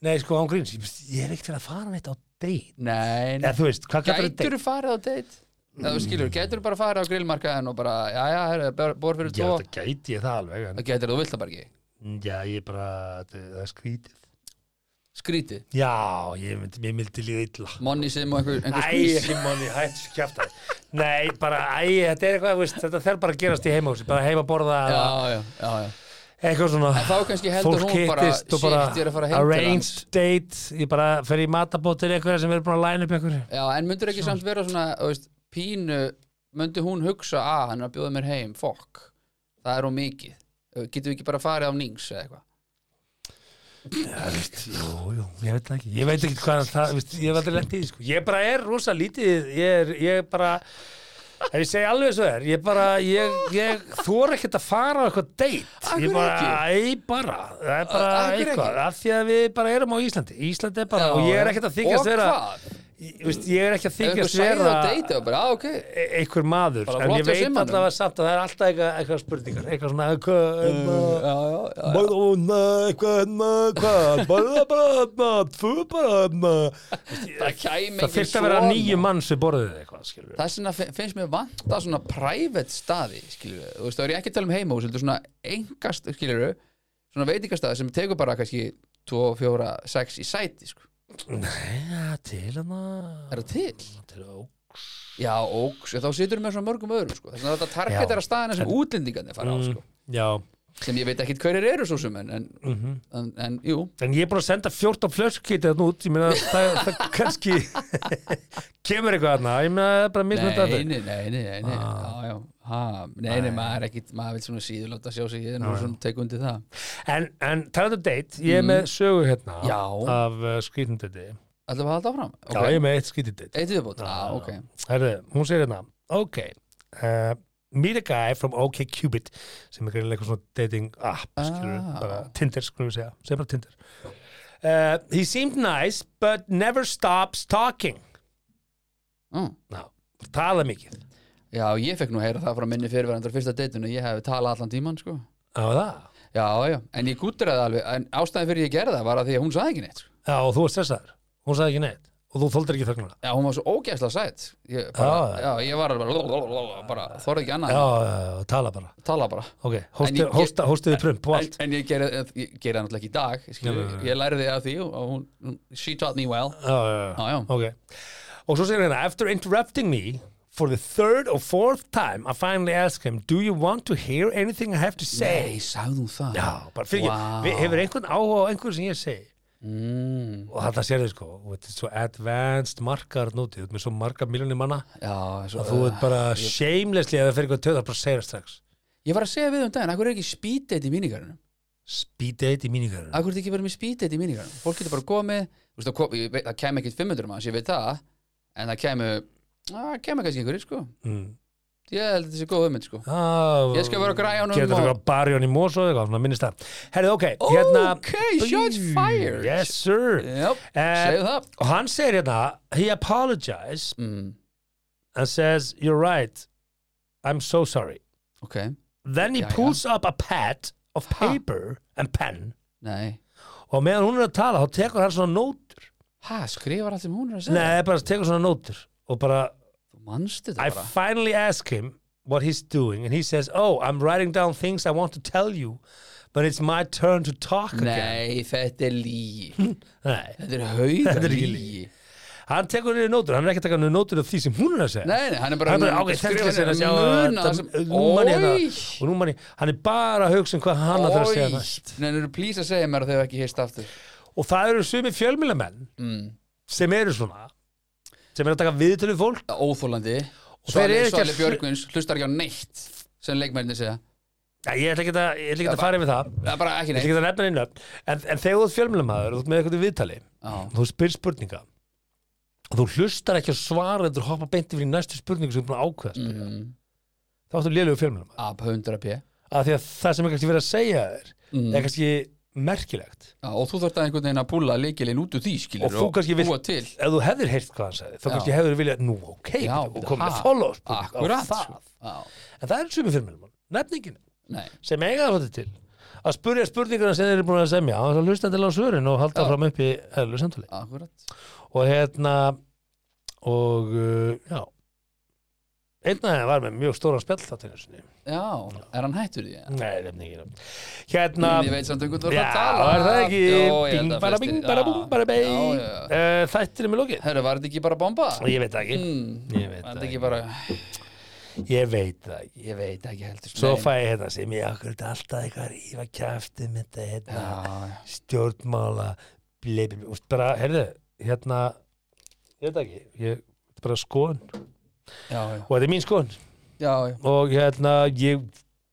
nei sko án gríns ég, ég er ekkert til að fara neitt á date nei, eða nei. þú veist, hvað kallar þetta gætur þú farið á date? eða þú skilur, gætur þú bara farið á grillmarkaðin og bara, já, já, herðu, bor fyrir já, tvo það gæti ég það alveg en, það gætur þú vilt það bara ekki, já, ég bara, það það er skrítið skrýti já, ég myndi, ég myndi líða illa monni sem og einhver, einhver Æ, skvís Simoni, hættu svo kjafta Nei, bara, æ, þetta er eitthvað, þú veist, þetta þarf bara að gerast í heimahúsi Bara heima borða já, eða já, já, já eitthvað svona En þá kannski heldur fólk hún bara, hittist og bara shit, ég er að fara heim til arranged date ég bara fer í matabót til einhverja sem er búin að læna upp einhverju Já, en myndur ekki samt vera svona, þú veist, pínu, myndi hún hugsa að hann er að bjóða mér heim, fokk, það er hún mikið. Uh, Getum við ekki bara farið á nýngs eða eitthvað? jú, jú, ég veit það ekki ég veit ekki hvað það, veist, ég hef aldrei lent í því sko. ég bara er rosa lítið ég er, ég er bara ef ég segi alveg svo er, ég bara ég, ég þor ekkert að fara á eitthvað date Af ég hverju bara, æ, bara það er bara Af hverju eitthvað, ekki? af því að við bara erum á Íslandi Íslandi er bara, Já, og ég er já. ekkert að þykjast Og vera hvað? ég, veist, ég er ekki að Ef einhver þykjast sæði vera á deiti og bara, á, ok, e- einhver maður Bara en flott ég hjá veit Simmanum. allavega samt að það er alltaf eitthvað, eitthvað spurningar eitthvað svona hérna, eitthvað já, já, já. oh, hérna, eitthvað bara oh, bara þú bara hérna." það kæmi það þurfti að vera nýju manns við borðið eitthvað skilur við. Það sem finnst mér vanta svona private staði, skilur við, þú veist, þá er ég ekki að tala um heimahús, heldur svona engast, skilur við, svona veitingastaði sem tekur bara kannski 2, 4, 6 í sæti, sko. Nei, til hérna. hann Er það til? til að Já, og sko, þá situr með svona mörgum öðrum, sko. Þannig að þetta target Já. er að staðina sem útlendingarnir fara á, sko. já sem ég veit ekkit hverjir eru svo sem en, en, en, en jú, en ég er búin að senda 14 flöskkitt þannig út ég meina það, það kannski kemur eitthvað þarna ég meina það er bara nei, mismönd að nei, nei, nei, nei, nei, já, já, ha, Ah. nei, nei, maður er ekkit, maður vil svona síðurláta sjá sig, ég er nú svona tek undir það. En, en talandi um date, ég er með sögu hérna Mm. Já. af uh, skrýtundandi Ætlum við að halda áfram? Já, ég er með eitt skítið date. Eitt viðbót? Já, Já. ok Herðu, hún segir hérna Ok, uh, meet a guy from OkCupid sem er greinilega eitthvað svona dating app skilur, Ah. bara Tinder skulum við segja segja bara Tinder uh, He seemed nice but never stops talking mm. Ná, tala mikið Já, ég fekk nú að heyra það frá minni fyrirverandar fyrsta deytinu Ég hef talað allan tíman, sko Á það? Já, já, en ég gúttiraði alveg En ástæðin fyrir ég gerði það var að því að hún saði ekki neitt sko. Já, og þú var stressaður Hún sagði ekki neitt og þú þóldir ekki þögnuna Já, hún var svo ógæsla sætt ég, bara, Já, já. ég var alveg bara, bara Þorði ekki annað Já, en já, já, tala bara að tala bara Ok, En ég- hósti- hósta- hóstiði prump og En, allt en ég gerði ég gerði það náttúrulega ekki í dag skilu, Nei, nei, nei. Ég lærði af því og hún, hún, She taught me well Já, já, já Já, já, Okay. Og svo segir hérna, after interrupting me for the third or fourth time, I finally ask him, do you want to hear anything I have to say? Nei, sagði hún það Já, bara fyrir Vá. ekki, hefur einhvern áhuga á einhver sem ég segi? mm, Og þetta sér þau sko, og þetta er svo advanced markar nútið, með svo margar miljónir manna, já svo, að þú ert bara Ah, shamelessly að það fer eitthvað töðar, bara segir það strax. Ég var að segja við um daginn, akkur er ekki speed date í mínigarunum Speed date í mínigarunum. Akkur er ekki verið með speed date í mínigarunum Fólk getur bara komið, þú veist, það kom- ég veit- það kemur ekkert 500 manns, ég veit það En það kemur, það kemur kannski einhverjir, sko Mm. Ég held að þetta sé góð hugmynd, sko Ah, Ég skal vera á græjunum Getur og- þú eitthvað barjón í mós og eitthvað, svona minnist það. Herrið, ok, hérna- Ok, shots fired Yes, sir. Jöp, Eh, segðu það Og hann segir hérna, he apologized mm, and says, you're right, I'm so sorry. Ok, Then he Jæja. pulls up a pad of paper and pen nei og meðan hún er að tala, þá tekur hann svona nótur. Ha, skrifar allt sem hún er að segja Nei, bara tekur svona nótur og bara, Þú manstu I þetta bara finally ask him what he's doing and he says, oh, I'm writing down things I want to tell you but it's my turn to talk again. Nei, þetta er lígi Nei. Þetta er hauga Þetta er ekki lígi Hann tekur niður nótur, hann er ekki að taka niður nótur af því sem hún er að segja. Nei, nei, hann er bara hann er bara, ok, þetta er að segja muna það þetta- sem- nú man Oj. ég það og nú man ég, hann er bara að hugsa um hvað hann að það að segja það Ói, en eru plís að segja mér að þau hef ekki heist aftur og það eru sumi fjölmýlamenn mm. sem eru svona sem eru að taka við til fólk Óþólandi þeir Svali, eru ekki að Svali hlu- Björgvins hlustar ekki á neitt sem leikmennir segja ja, ég ætla ekki að, ég ætla ekki að fara yfir það Það er bara ekki ég neitt ætla ekki að nefna einu en, en þegar þú ert fjölmýlamæður og þú ert með eitthvað viðtali Já. og þú spyr spurninga og þú hlustar ekki að svara en þú hoppa beint yfir í næstu spurningu sem þú er búin að ákveða að spyrja. Mm. þá ertu lélegu fjölmýlamæður Ab 100 p Mm. af því að það sem er kannski verið að segja þér er kannski merkilegt Já, og þú þarft að einhvern veginn að búla leikilinn út úr því skilur Og þú kannski vilt- búa til ef þú hefðir heyrt hvað hann sagði þá Já. kannski hefðir viljað, nú ok Já, og komið ha, að follow spurningu á Akkurat það. sko. Já, en það er sumi fjölmjölum, nefningin Nei, sem eiga það þetta til að spurja spurninguna sem þeir eru búin að semja og það hlusta til á svörin og halda Já. fram upp í eðlu samtali akkurat og hérna og uh, já einn af þeim var með mjög stóran spjall þátt einu sinni. Já, er hann hættur því? Ja? nei, nefningin hérna Ég veit samt einhvern veginn Já, að tala var það ekki Jó, ég held Bing, að bara, flestir- bing, bara, Já. búm, bara, bing Já, já, já. Eh, Þættir er með lókið Herru, var þetta ekki bara bomba? Ég veit það ekki, Mm, Ég veit var það þetta ekki bara ég veit það ekki Ég veit ekki heldur Svo Nei. fæ ég hérna sem ég akkur þetta alltaf eitthvað að rífa kæftið með þetta hérna, Já, stjórnmála bleipi, úst bara, heyrðu hérna, ég veit það ekki ég, þetta er bara skoðun já, já, og þetta er mín skoðun já, já. og hérna, ég,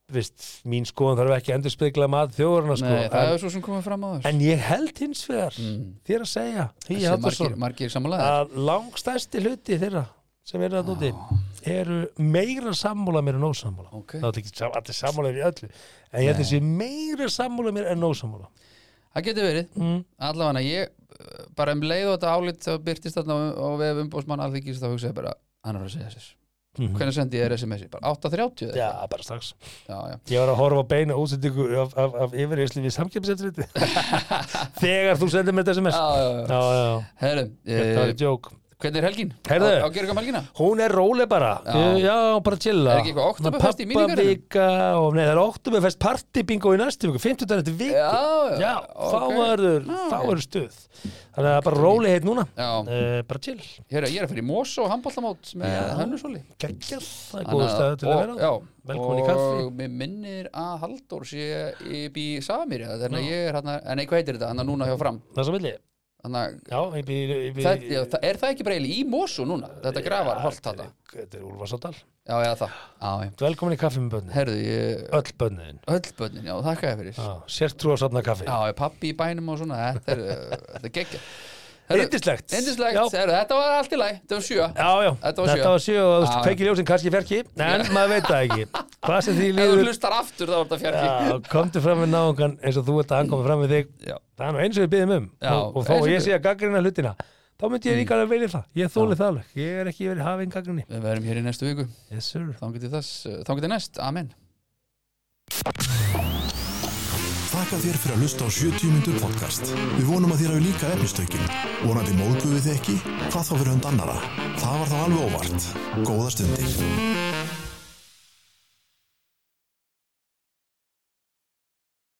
veist mín skoðun þarf ekki að endur spegla maður þjóðurna sko, Nei, það en, er svo sem komið fram á þessu en ég held hins vegar Mm. þér að segja, því Þessi ég held margir, margir samanlega að langstæsti hluti þeirra sem eru að núti eru meira sammála mér en ósammála Ok. það er ekki sam- allir sammála mér í öllu en ég held þessi meira sammála mér en ósammála Það getur verið, mm. allavega ég uh, bara um leið og þetta álít þá byrtist þarna á- á vef umbóðsmann alþingis þá hugsaði ég bara, hann er að segja sér Hvernig sendi ég þér SMS-i? Bara 8.30 eða Mhm. já, eitthvað? bara strax já, já. ég var að horfa á beina útsendingu af, af, af yfirreyslu við samkjöpsetriti þegar þú sendir mér þetta sms já, já, já. já, já, Herru, þetta var eh, í djók hvernig er helgin? Heyrðu. Á, á gerðum helgina? hún er róleg bara, já, Já. bara chilla Er ekki eitthvað Októberfest í mínigarðinum? pappavika og nei, það er oktoberfest partybingo í næstu viku 50 dæna eftir viku Já, Já, ok. fáverður, Já, ok. fáverður stuð Þannig að það er bara róli heitt núna Já, uh, Bara chill herru, ég er að fyrir Mós og handbóltamót með Já. hönnusóli Gægjall, það er góð Þannig stæðu til að og- vera já, Velkomin í kaffi. og mér minnir að Halldór sé upp í Samir þannig að ég er hann en eitthvað heitir þetta, hann er núna hjá fram Það sem vilji, þannig já, ég býr ég að býr- það- já, það- er það ekki breyli í Mosu núna þetta grafar holt þetta Þetta er Úlfarsárdal já, já, það já, já. Velkomin í kaffi með bönni herðu, ég Öll bönniðin öll börnin, já, þakka ég fyrir já, Sértrú á sátna kaffi já pappi í bænum og svona þetta eh, er, uh, þetta er geggja Yndislegt. Indislegt, Já. þetta var allt í læg, þetta var sjö Já, já, Þetta var sjö. þetta var sjö og Já, þú veist, já. kveikir ljósin kannski fjarki, en maður veit það ekki. Hvað sem því Ef þú líður, hlustar aftur þá var þetta fjarki já, komdu fram með náungan eins og þú ert að ankoma fram með þig. Já. Það er nú eins og við byggjum um. Já, og, og þó eins og ég við- Mm. sé að gaggrina hlutina, þá myndi ég líka alveg velja það. Ég þóli það alveg. Ég er ekki verið hafinn gaggrinni. Við verðum hér í næstu viku, Yes, sir. þangar til þess, þangar til næst, amen Þakka þér fyrir að hlusta á 70 mínútur podcast. Við vonum að þér hafi líka efnistökin. Vonandi móðguðu þið ekki? Hvað þá fyrir hund annara? Það var þá alveg óvart. Góða stundir.